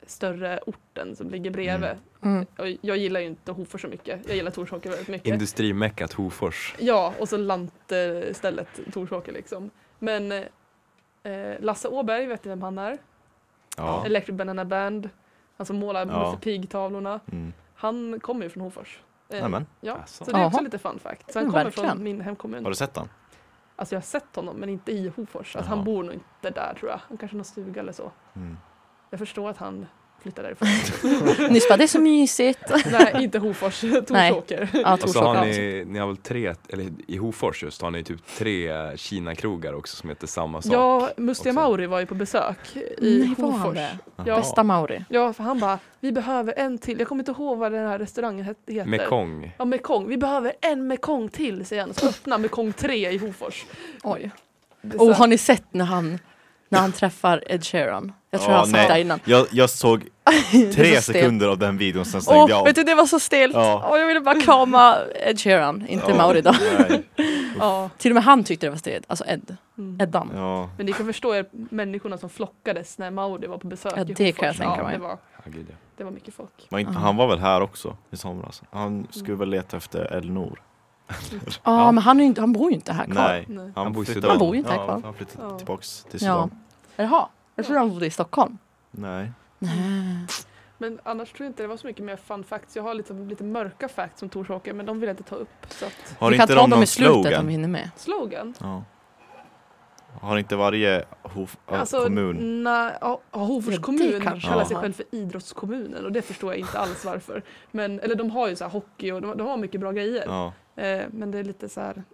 S3: större orten som ligger bredvid.
S2: Mm.
S1: Mm.
S3: Och jag gillar ju inte Hofors så mycket. Jag gillar Torsåker väldigt mycket.
S4: Industrimeckat Hofors.
S3: Ja, och så lantstället Torsåker liksom. Men eh, Lasse Åberg, vet du vem han är?
S2: Ja.
S3: Electric Banana Band. Han som målar
S2: Ja.
S3: Musse Pig-tavlorna.
S2: Mm.
S3: Han kommer ju från Hofors. Eh,
S2: Nämen.
S3: Ja,
S4: Alltså.
S3: så det är också
S1: Jaha.
S3: lite fun fact. Så han
S1: Mm,
S3: kommer från
S1: verkligen.
S3: min hemkommun.
S2: Har du sett den?
S3: Alltså jag har sett honom, men inte i Hofors. Alltså,
S2: Jaha.
S3: han bor nog inte där tror jag. Han kanske har någon stuga eller så.
S2: Mm.
S3: Jag förstår att han flyttar därifrån.
S1: Nyss bara, det är så mysigt.
S3: Nej, inte Hofors, Torsåker.
S1: Ja,
S4: Och så Alltså, har
S1: Torsåker.
S4: ni, ni har väl tre, eller i Hofors just har ni typ tre Kina-krogar också som heter samma sak.
S3: Ja, Mustiga
S4: också.
S3: Mauri var ju på besök i
S1: Nej, var han
S3: Hofors.
S1: det?
S3: Ja.
S1: Bästa Mauri.
S3: Ja, för han bara, vi behöver en till. Jag kommer inte ihåg vad den här restaurangen het- heter.
S4: Mekong.
S3: Ja, Mekong. Vi behöver en Mekong till, säger han. Och Så öppnar Mekong 3 i Hofors.
S1: Oj.
S3: Det är så
S1: Och
S3: här-
S1: har ni sett när han, när han träffar Ed Sheeran? Jag tror
S2: Ja,
S1: jag har sagt
S2: nej.
S1: det här innan.
S2: Jag, jag såg
S1: Det är
S2: tre
S1: så stelt.
S2: sekunder av den videon, sen stängde
S1: Åh, typ
S2: jag av.
S1: vet du det var så stelt!
S2: Ja.
S1: Åh, jag ville bara krama Ed Sheeran, inte
S2: Ja,
S1: Mauri då.
S2: nej.
S3: Ja.
S1: Till och med han tyckte det var stelt, alltså Ed.
S3: Mm.
S1: Eddan.
S2: Ja.
S3: Men ni kan förstå er, människorna som flockades när Mauri var på besök
S1: Ja,
S3: i
S1: det
S3: Hofors.
S1: kan jag tänka
S3: ja,
S1: mig.
S3: det, var,
S4: Ja, gud, ja.
S3: det var mycket folk.
S2: Men inte,
S1: Ja.
S2: han var väl här också i somras? Han skulle väl leta efter Elnor?
S1: Ja,
S4: Ja.
S1: men han, är ju inte, han bor ju inte här kvar.
S2: Nej,
S3: Nej.
S4: Han bor i
S2: flyttade-
S4: Sudan. Han
S1: bor ju inte här
S2: ja,
S1: kvar.
S2: Han flyttade
S3: Ja.
S2: tillbaks till
S1: Ja.
S2: Sudan.
S1: Jaha, jag trodde han bodde i Stockholm.
S2: Nej.
S1: Nej.
S3: Men annars tror jag inte det var så mycket mer fun facts. Jag har liksom lite mörka facts som Torsåker, men de vill jag inte ta upp. Så att,
S2: Har
S1: vi
S2: inte
S1: kan ta
S2: de
S1: dem
S2: någon
S1: i slutet
S2: slogan?
S1: om vi hinner med.
S3: slogan.
S2: Ja. Har inte varje hof- äh,
S1: Alltså,
S2: kommun?
S3: Alltså, Na, ja, ja, Hofors
S1: Ja, det
S3: kommun
S1: kanske
S3: kallar
S2: de
S3: sig
S1: har.
S3: själv för idrottskommunen och det förstår jag inte alls varför. Men, eller de har ju så här hockey och de, de har mycket bra grejer.
S2: Ja.
S3: Eh, men det är lite så här.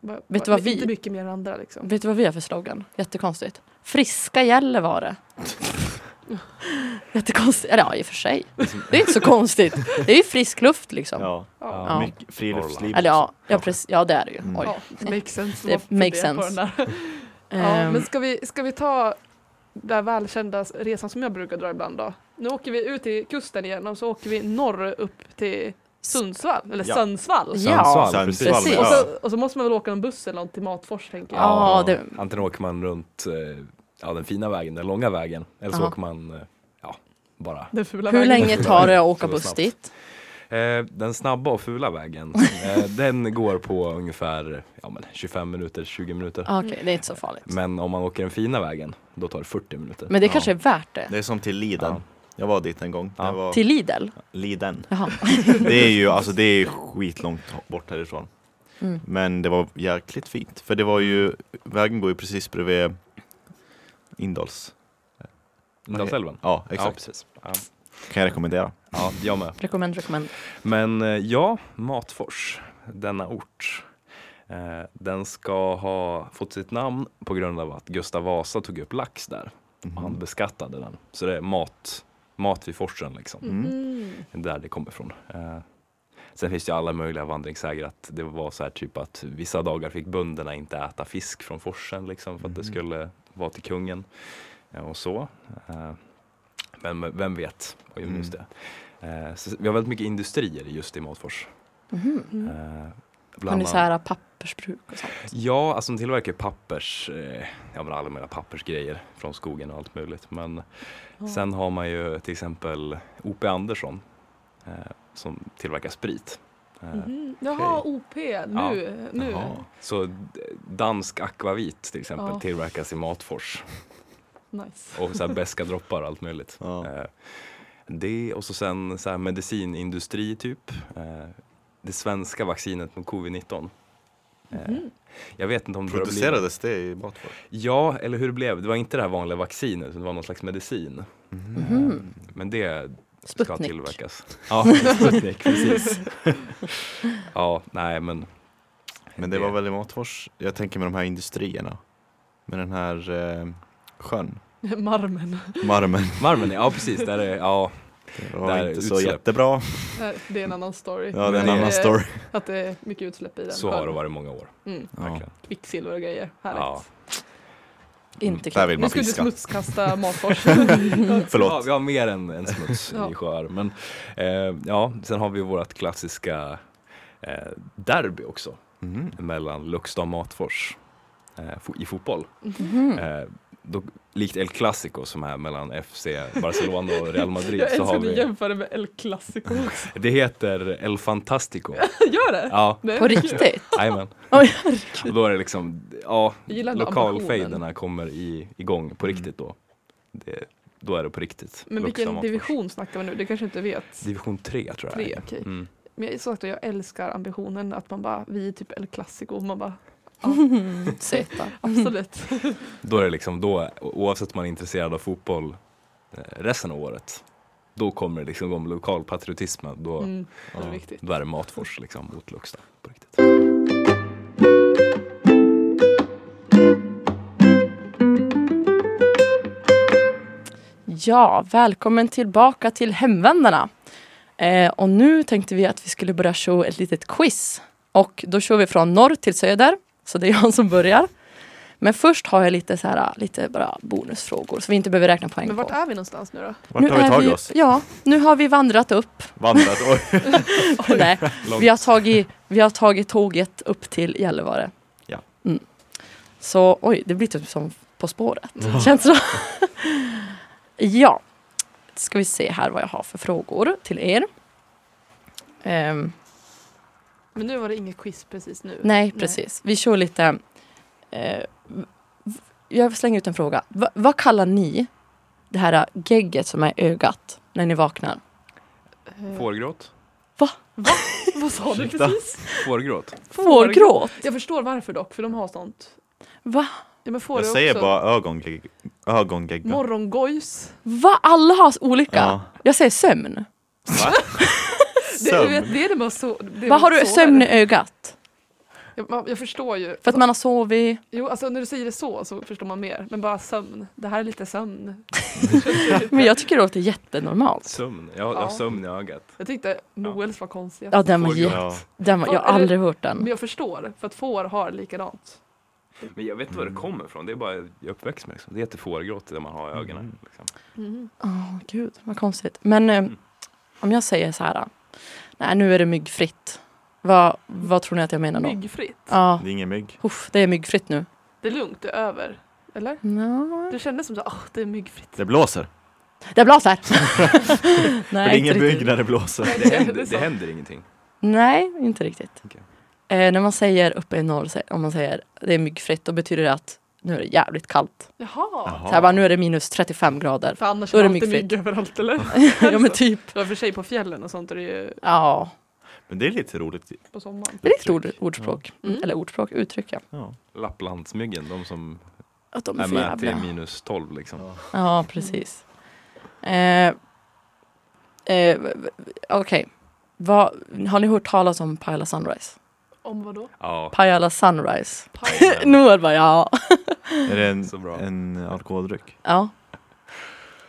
S3: va-
S1: Vet du
S3: va-
S1: vad vi-
S3: Inte mycket mer än andra liksom.
S1: Vet du vad vi har för slogan? Jättekonstigt. Friska Gällivare. Jättekonstigt. Eller ja, i och för sig. Det är inte så konstigt. Det är ju frisk luft liksom. Ja,
S2: Ja.
S3: Ja.
S4: Ja.
S2: Mycket friluftsliv.
S1: Eller ja, ja,
S2: också.
S1: precis, ja, det är det ju.
S2: Mm.
S1: Oj.
S3: Ja, det makes sense.
S1: Det
S3: att man
S1: makes
S3: funderar på
S1: sense.
S3: den där. Ja,
S1: Ehm,
S3: men ska vi, ska vi ta den välkända resan som jag brukar dra ibland då? Nu åker vi ut till kusten igen och så åker vi norr upp till Sundsvall, eller
S2: Ja.
S3: Sundsvall.
S1: Ja.
S4: Sundsvall,
S2: Sundsvall,
S4: precis.
S1: precis.
S2: ja.
S3: Och, så, och så måste man väl åka en buss eller något till Matfors tänker jag.
S1: Ja. det-
S4: Antingen åker man runt eh, ja, den fina vägen, den långa vägen, eller så
S1: Ja.
S4: åker man eh, ja, bara.
S3: Den fula
S1: hur
S3: vägen.
S1: länge tar det att åka
S4: Så
S1: buss
S4: snabbt.
S1: dit?
S4: Eh, den snabba och fula vägen, eh, den går på ungefär ja, men 25 minuter, 20 minuter.
S1: Ah, Okej, det är inte så farligt. Men,
S4: Men om man åker den fina vägen, då tar det 40 minuter.
S1: det
S2: Ja.
S1: kanske är värt det.
S2: Det är som till Liden.
S4: Ja.
S2: Jag var dit en gång.
S4: Ja.
S2: Jag var
S1: Till Lidl?
S2: Liden.
S1: Jaha.
S2: Det är ju alltså det är skitlångt bort härifrån.
S1: Mm.
S2: Men det var jäkligt fint. För det var ju, vägen går ju precis bredvid Indals.
S4: Indalsälven.
S2: Ja,
S4: Ja,
S2: exakt.
S4: precis. Ja,
S2: Kan jag rekommendera.
S4: ja jag med.
S1: Rekommend, rekommend.
S4: Men eh, ja, Matfors, denna ort, eh, den ska ha fått sitt namn på grund av att Gustav Vasa tog upp lax där
S2: Mhm.
S4: och
S2: Mm.
S4: han beskattade den. Så det är mat, mat vid forsen liksom,
S3: Mm.
S4: Det är där det kommer ifrån. Eh, sen finns det ju alla möjliga vandringssäger att det var så här typ att vissa dagar fick bönderna inte äta fisk från forsen liksom för att det
S2: Mhm.
S4: skulle vara till kungen eh, och så. Eh, men vem vet? Och
S2: Mm.
S4: just det. Eh, så vi har väldigt mycket industrier just i Matfors.
S1: Mhm.
S3: Mm.
S4: Eh,
S1: Har
S4: bland
S1: ni så
S4: annat-
S1: här pappersbruk och sånt?
S4: Ja, alltså de tillverkar ju pappers, eh, ja men alla möjliga pappersgrejer från skogen och allt möjligt. Men
S3: Ja.
S4: sen har man ju till exempel O.P. Andersson eh, som tillverkar sprit. Eh,
S3: Mhm. Jaha, OP, nu. nu.
S2: Jaha.
S4: Så d- dansk akvavit till exempel
S3: Ja.
S4: tillverkas i Matfors
S3: Nice.
S4: och så här beska droppar och allt möjligt.
S2: Ja.
S4: Eh, Det och så sen så här medicinindustri typ. Eh, Det svenska vaccinet mot covid-19. Eh,
S3: Mhm.
S4: Jag vet inte om det har blivit-
S2: Producerades det i Matfors?
S4: Ja, eller hur det blev. Det var inte det här vanliga vaccinet, utan det var någon slags medicin.
S2: Mm.
S1: Mhm.
S4: Men det ska
S1: Sputnik.
S4: tillverkas. Ja, Sputnik, precis. ja, nej men.
S2: Men det var väl i Matfors, jag tänker med de här industrierna. Med den här eh, sjön,
S3: Marmen.
S2: marmen.
S4: Marmen, ja precis. Där är, ja,
S2: Det var
S4: Där
S2: inte så
S4: utsläpp.
S2: jättebra.
S3: Det är en annan story. eh,
S2: Ja, det är en
S4: det-
S2: annan story.
S3: Att det är mycket utsläpp i den.
S4: så har det varit i många år.
S3: Mm.
S2: Ja.
S4: Verkligen.
S3: Kvicksilver och grejer. Härligt.
S4: Ja.
S1: Inte
S2: Mm. Där
S1: kul.
S2: vill
S3: Nu
S2: man
S3: skulle du
S2: fiska.
S3: smutskasta Matfors.
S4: Ja,
S2: Förlåt.
S4: vi har mer än, än smuts
S3: Ja.
S4: i sjöar. Men eh, ja, sen har vi vårt klassiska eh, derby också
S2: Mhm.
S4: mellan Luxta och Matfors eh, fo- i fotboll.
S3: Mm.
S1: Mhm.
S4: Eh, då, likt El Clasico som är mellan FC Barcelona och Real Madrid
S3: Jag
S4: så
S3: älskar
S4: har
S3: att du
S4: vi,
S3: jämför det med El Clasico också.
S4: det heter El Fantastico.
S3: Gör det?
S4: Ja,
S3: Nej.
S1: På riktigt?
S4: jajamän.
S1: Oj,
S4: Och då är det liksom, ja,
S3: Jag gillar ändå ambitionen. Mm.
S4: lokalfejderna kommer i, igång på riktigt då. Det, då är det på riktigt.
S3: Men
S4: Vuxna
S3: vilken
S4: Matfors.
S3: division snackar vi nu? Det kanske inte vet.
S4: Division 3 tror jag. det är.
S3: Tre, okej.
S4: Mm.
S3: Men jag, som sagt, jag älskar ambitionen att man bara, vi är typ El Clasico. Man
S1: Mm.
S3: bara,
S1: Söta.
S3: absolut.
S4: Då är det liksom, då, oavsett om man är intresserad av fotboll eh, resten av året, då kommer det liksom om lokalpatriotismen. Då,
S3: Mm.
S4: ja,
S3: det är viktigt.
S4: då är det Matfors liksom mot Luxta på riktigt.
S1: Ja, välkommen tillbaka till Hemvändarna. Eh, och nu tänkte vi att vi skulle börja show ett litet quiz. Och då kör vi från norr till söder, så det är jag som börjar. Men först har jag lite, så här, lite bara bonusfrågor så vi inte behöver räkna poäng
S3: Men vart
S1: på.
S3: är vi någonstans nu då?
S2: Vart har vi
S1: är
S2: tagit oss?
S1: Ja, nu har vi vandrat upp.
S2: Vandrat? Oj.
S1: Nej,
S4: Långt.
S1: vi, har tagit, vi har tagit tåget upp till Gällivare.
S2: Ja.
S1: Mm. Så oj, det blir typ som På spåret. Känns det så? ja. Ska vi se här vad jag har för frågor till er. Ehm,
S3: Men nu var det inget quiz precis nu.
S1: nej, precis. Vi kör lite... eh, v- jag slänger ut en fråga. Va, vad kallar ni det här gegget som är ögat när ni vaknar?
S3: Eh,
S4: Fårgråt?
S3: Vad sa du
S2: Ursäkta.
S3: precis?
S4: Fårgråt?
S1: Fårgråt?
S3: Jag förstår varför dock, för de har sånt.
S1: Va?
S3: Ja, men får
S2: Jag
S3: det
S2: säger
S3: också.
S2: bara ögongegga. Ögongegga.
S3: Morgongojs.
S1: Va? Alla har olika?
S2: Ja.
S1: Jag säger sömn.
S2: Va?
S3: Det, du vet,
S2: Sömn?
S3: det är det man så... Det
S1: Vad har
S3: man
S1: du
S3: sover.
S1: sömn i ögat?
S3: Jag, man- jag förstår ju.
S1: För att man har sovit?
S3: Jo, alltså när du säger det så så förstår man mer. Men bara sömn. Det här är lite sömn.
S1: Men jag tycker det låter jättenormalt.
S4: Sömn? Jag, jag
S3: Ja.
S4: har sömn i ögat.
S3: Jag tyckte Noels var konstigast.
S1: Ja, den var,
S4: Fårgråt.
S1: jätte-
S2: Ja.
S1: den var jag har aldrig hört
S3: Men
S1: den.
S3: jag förstår, för att får har likadant. Mm.
S4: Men jag vet inte var det kommer ifrån, det är bara jag är uppväxt med liksom. det. heter fårgråt det man har i ögonen. Liksom.
S3: Mm.
S1: Åh, gud, vad konstigt. Men eh, om jag säger så här, nej, nu är det myggfritt. Vad, vad tror ni att jag menar då?
S3: Myggfritt.
S1: Ja,
S2: Det är ingen mygg.
S1: uff, det är myggfritt nu.
S3: Det är lugnt, det är över. Eller?
S1: No.
S3: Det kändes som att oh, det är myggfritt.
S2: Det blåser.
S1: Det blåser! nej,
S2: För det är ingen
S1: inte
S2: mygg
S1: riktigt.
S2: när det blåser.
S4: Det, händer,
S3: är
S4: det,
S3: sant.
S4: händer ingenting.
S1: Nej, inte riktigt.
S4: Okej.
S1: Eh, när man säger uppe i norr, sä- om man säger det är myggfritt, då betyder det att nu är det jävligt kallt.
S3: Jaha.
S2: Ah.
S1: Så här, bara, nu är det minus 35 grader.
S3: För annars
S1: Då är det
S3: är det alltid
S1: myggfritt.
S3: mygg överallt eller? Alltså.
S1: ja, men typ.
S3: Ja, för sig på fjällen och sånt är det ju
S1: Ja,
S2: Men det är lite roligt.
S3: på sommaren.
S1: det är lite ord,
S2: Uttryck.
S1: ordspråk.
S3: Mm.
S1: Eller ordspråk, uttryck ja.
S2: Ja.
S4: Lapplandsmyggen, de som
S1: Att de är
S4: är
S1: för
S4: med till
S1: jävla.
S4: minus 12 liksom.
S2: Ja.
S1: Ja, precis. Eh, eh, v- v- Okej. Vad- Har ni hört talas om Pajala Sunrise?
S3: Om vad då?
S4: Ja,
S1: Pajala Sunrise.
S3: Paj-
S1: Noel bara ja.
S2: Är det en,
S4: Så bra.
S2: en alkoholdryck?
S1: ja.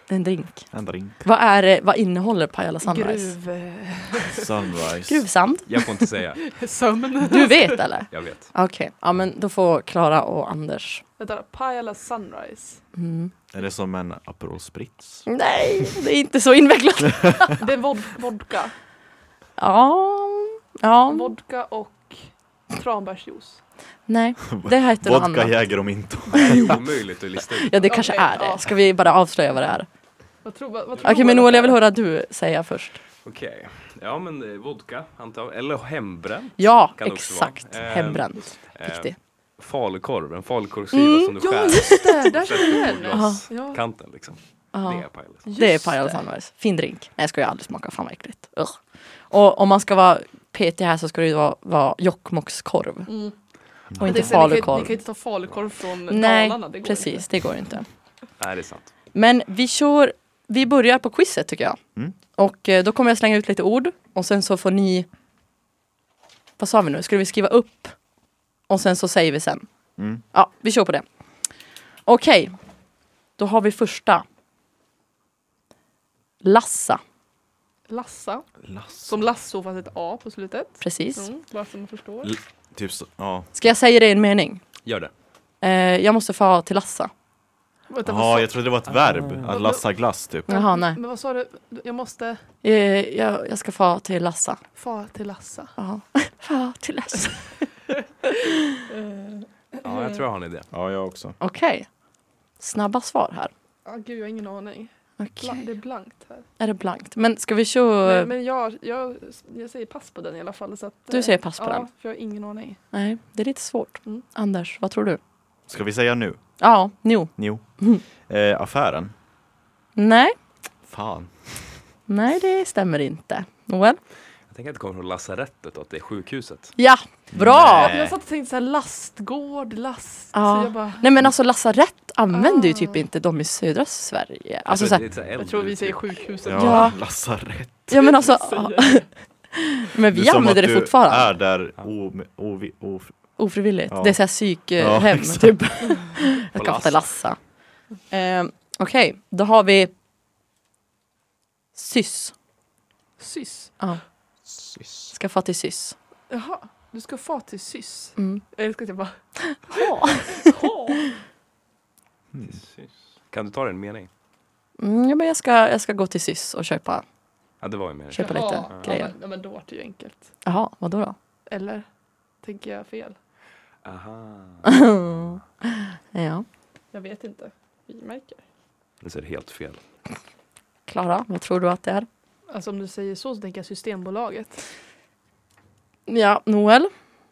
S1: Det är en drink.
S2: En drink.
S1: Vad, är, det- vad innehåller Pajala Sunrise?
S3: Gruv... eh,
S2: Sunrise.
S1: Gruvsand.
S4: jag får inte säga,
S3: Sömn.
S1: Du vet eller?
S4: jag vet.
S1: Okej, ja men då får Klara och Anders.
S3: Vänta, Pajala Sunrise.
S1: Mm.
S2: Är det som en Aperol Spritz?
S1: Nej, det är inte så invecklat.
S3: Det är vod- vodka.
S1: Ja, ja,
S3: Vodka och tranbärsjuice.
S1: nej, det heter något
S2: Vodka,
S1: annat.
S2: Jäger och Minto.
S4: Det är omöjligt att lista ut.
S1: Ja, det kanske
S3: Okej,
S1: är det.
S3: ja.
S1: Ska vi bara avslöja vad det är?
S3: Vad tror, vad, vad tror
S1: Okej, men
S3: du?
S1: Noel, jag vill höra du säga först.
S4: Okej, ja men eh, vodka antar jag, eller hembränt.
S1: Ja,
S4: Kan det också
S1: exakt.
S3: Ehm,
S4: vara. Eh,
S1: Hembränt.
S4: Eh,
S1: Viktig.
S4: falukorv, en falukorvsskiva
S1: Mm,
S4: som du
S3: Ja,
S4: skär.
S3: just det! Där känner jag igen det.
S1: Aha.
S3: Ja.
S4: Kanten liksom. Det är
S1: Ja.
S4: pajlas.
S1: Det är Pajala Sunrise. Fin drink. Nej, jag ska jag aldrig smaka. Fan vad äckligt. Ugh. Och om man ska vara petig här så ska det ju vara, vara Jokkmokkskorv
S3: Mm.
S1: och inte
S3: Det är så, ni kan- Ni kan
S1: falukorv.
S3: inte ta falukorv från
S1: Nej,
S3: Dalarna. Det går inte.
S1: precis. Det går inte.
S4: Nej, det är sant.
S1: Men vi kör, vi börjar på quizet tycker jag.
S2: Mm.
S1: Och eh, då kommer jag slänga ut lite ord och sen så får ni, vad sa vi nu, skulle vi skriva upp och sen så säger vi sen.
S2: Mm.
S1: Ja, vi kör på det. Okej, då har vi första. Lassa,
S3: Lassa.
S2: Lass.
S3: Som lasso fast ett A på slutet.
S1: precis.
S3: Mm, bara så man förstår.
S2: L- Typ så, ja.
S1: Ska jag säga det i en mening?
S4: Gör det.
S1: Eh, jag måste få till Lassa.
S3: Vänta, vad
S2: Ja,
S3: sa-
S2: jag trodde det var ett verb. Att lassa glass typ.
S1: Jaha, nej.
S3: Men vad sa du? Jag måste
S1: Eh, jag, jag ska få till Lassa.
S3: fara till Lassa.
S1: Ja, få till Lassa.
S3: Eh,
S4: Ja, jag tror jag har en idé.
S2: Ja, jag också.
S1: Okej. snabba svar här.
S3: Ah, gud, jag har ingen aning.
S1: Okej.
S3: Bla- Det är blankt här.
S1: Är det blankt? Men ska vi köra...
S3: Men, men jag, jag, jag säger pass på den i alla fall. Så att,
S1: Du
S3: eh,
S1: säger pass på
S3: ja,
S1: den.
S3: för jag har ingen aning.
S1: Nej, det är lite svårt.
S3: Mm.
S1: Anders, vad tror du?
S2: Ska vi säga nu?
S1: Ja, jo.
S2: Jo.
S1: Mm.
S2: Eh, affären?
S1: Nej,
S2: Fan.
S1: nej det stämmer inte. Noel?
S4: Jag tänker att det kommer från lasarettet och att det är sjukhuset.
S1: Ja, bra!
S2: Nej.
S3: Jag satt och tänkte så här lastgård, last.
S1: Ja.
S3: Så jag bara,
S1: Nej men alltså lasarett använder ju typ
S3: Ah.
S1: inte de i södra Sverige.
S4: Jag
S1: Alltså
S4: tror
S1: så
S4: det är
S1: här,
S4: ett så här
S3: jag
S4: äldre typ.
S3: tror vi säger
S4: uttryck.
S3: sjukhuset.
S2: Ja,
S1: Ja.
S2: lasarett.
S1: ja men alltså,
S3: typ. Säger-
S1: men
S2: är
S1: vi
S2: som
S1: använder
S2: att
S1: det
S2: du
S1: fortfarande.
S2: är där o, o, o,
S1: Ofrivilligt.
S2: Ja.
S1: Det är såhär psykhem
S2: Ja,
S1: hem
S2: exakt.
S1: typ.
S4: Och
S1: Jag kan ofta
S4: Lassa.
S1: lassa. Ehm, Okej, då har vi sys.
S3: Sys.
S1: Ja, skaffa till sys.
S3: Jaha, du ska få till sys.
S1: Mm.
S3: Jag älskar att jag bara, "Åh."
S4: Precis. Kan du ta den mening?
S1: Mm, ja, men jag, ska, jag ska gå till sys och köpa.
S4: Ja, det var ju mening.
S1: Köpa lite
S3: Jaha,
S1: grejer.
S3: Ja, men, ja, men då var det ju enkelt.
S1: Jaha, vadå då?
S3: Eller? Tänker jag fel?
S4: Aha.
S1: Ja.
S3: Jag vet inte. Vi märker.
S4: Det ser helt fel.
S1: Klara, vad tror du att det är?
S3: Alltså om du säger så så tänker jag Systembolaget.
S1: Ja, Noel?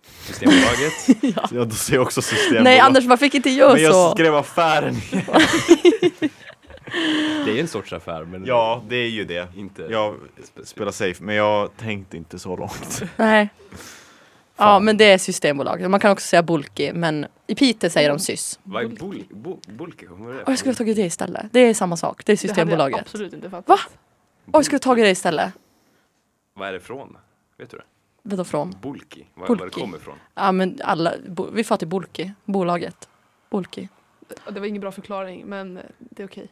S4: Systembolaget.
S1: ja.
S2: Ja, då ser jag också systembolaget.
S1: Nej, Anders, varför fick inte jag
S2: Men jag
S1: så?
S2: skrev affären.
S4: det är en sorts affär, men
S2: Ja, det är ju det.
S4: inte
S2: Jag spelar safe, men jag tänkte inte så långt.
S1: Nej. Ja,
S2: Fan.
S1: men det är Systembolaget. Man kan också säga bulky, men i Piteå säger de sys.
S4: Vad är bulk, bulk, bulk? Vad var det?
S1: Och jag skulle ha tagit det istället. Det är samma sak. Det är
S3: Det hade jag
S1: Systembolaget.
S3: absolut inte fattat.
S1: Va? Oj, jag skulle ha tagit det istället.
S4: Vad är det från? Vet du det?
S1: Vadå från?
S4: Bulky. Vad,
S1: Bulky.
S4: vad det kommer ifrån?
S1: Ja, men alla, bo, vi får till bulky. Bolaget. Bulky.
S3: Det var ingen bra förklaring men eh, det är okej.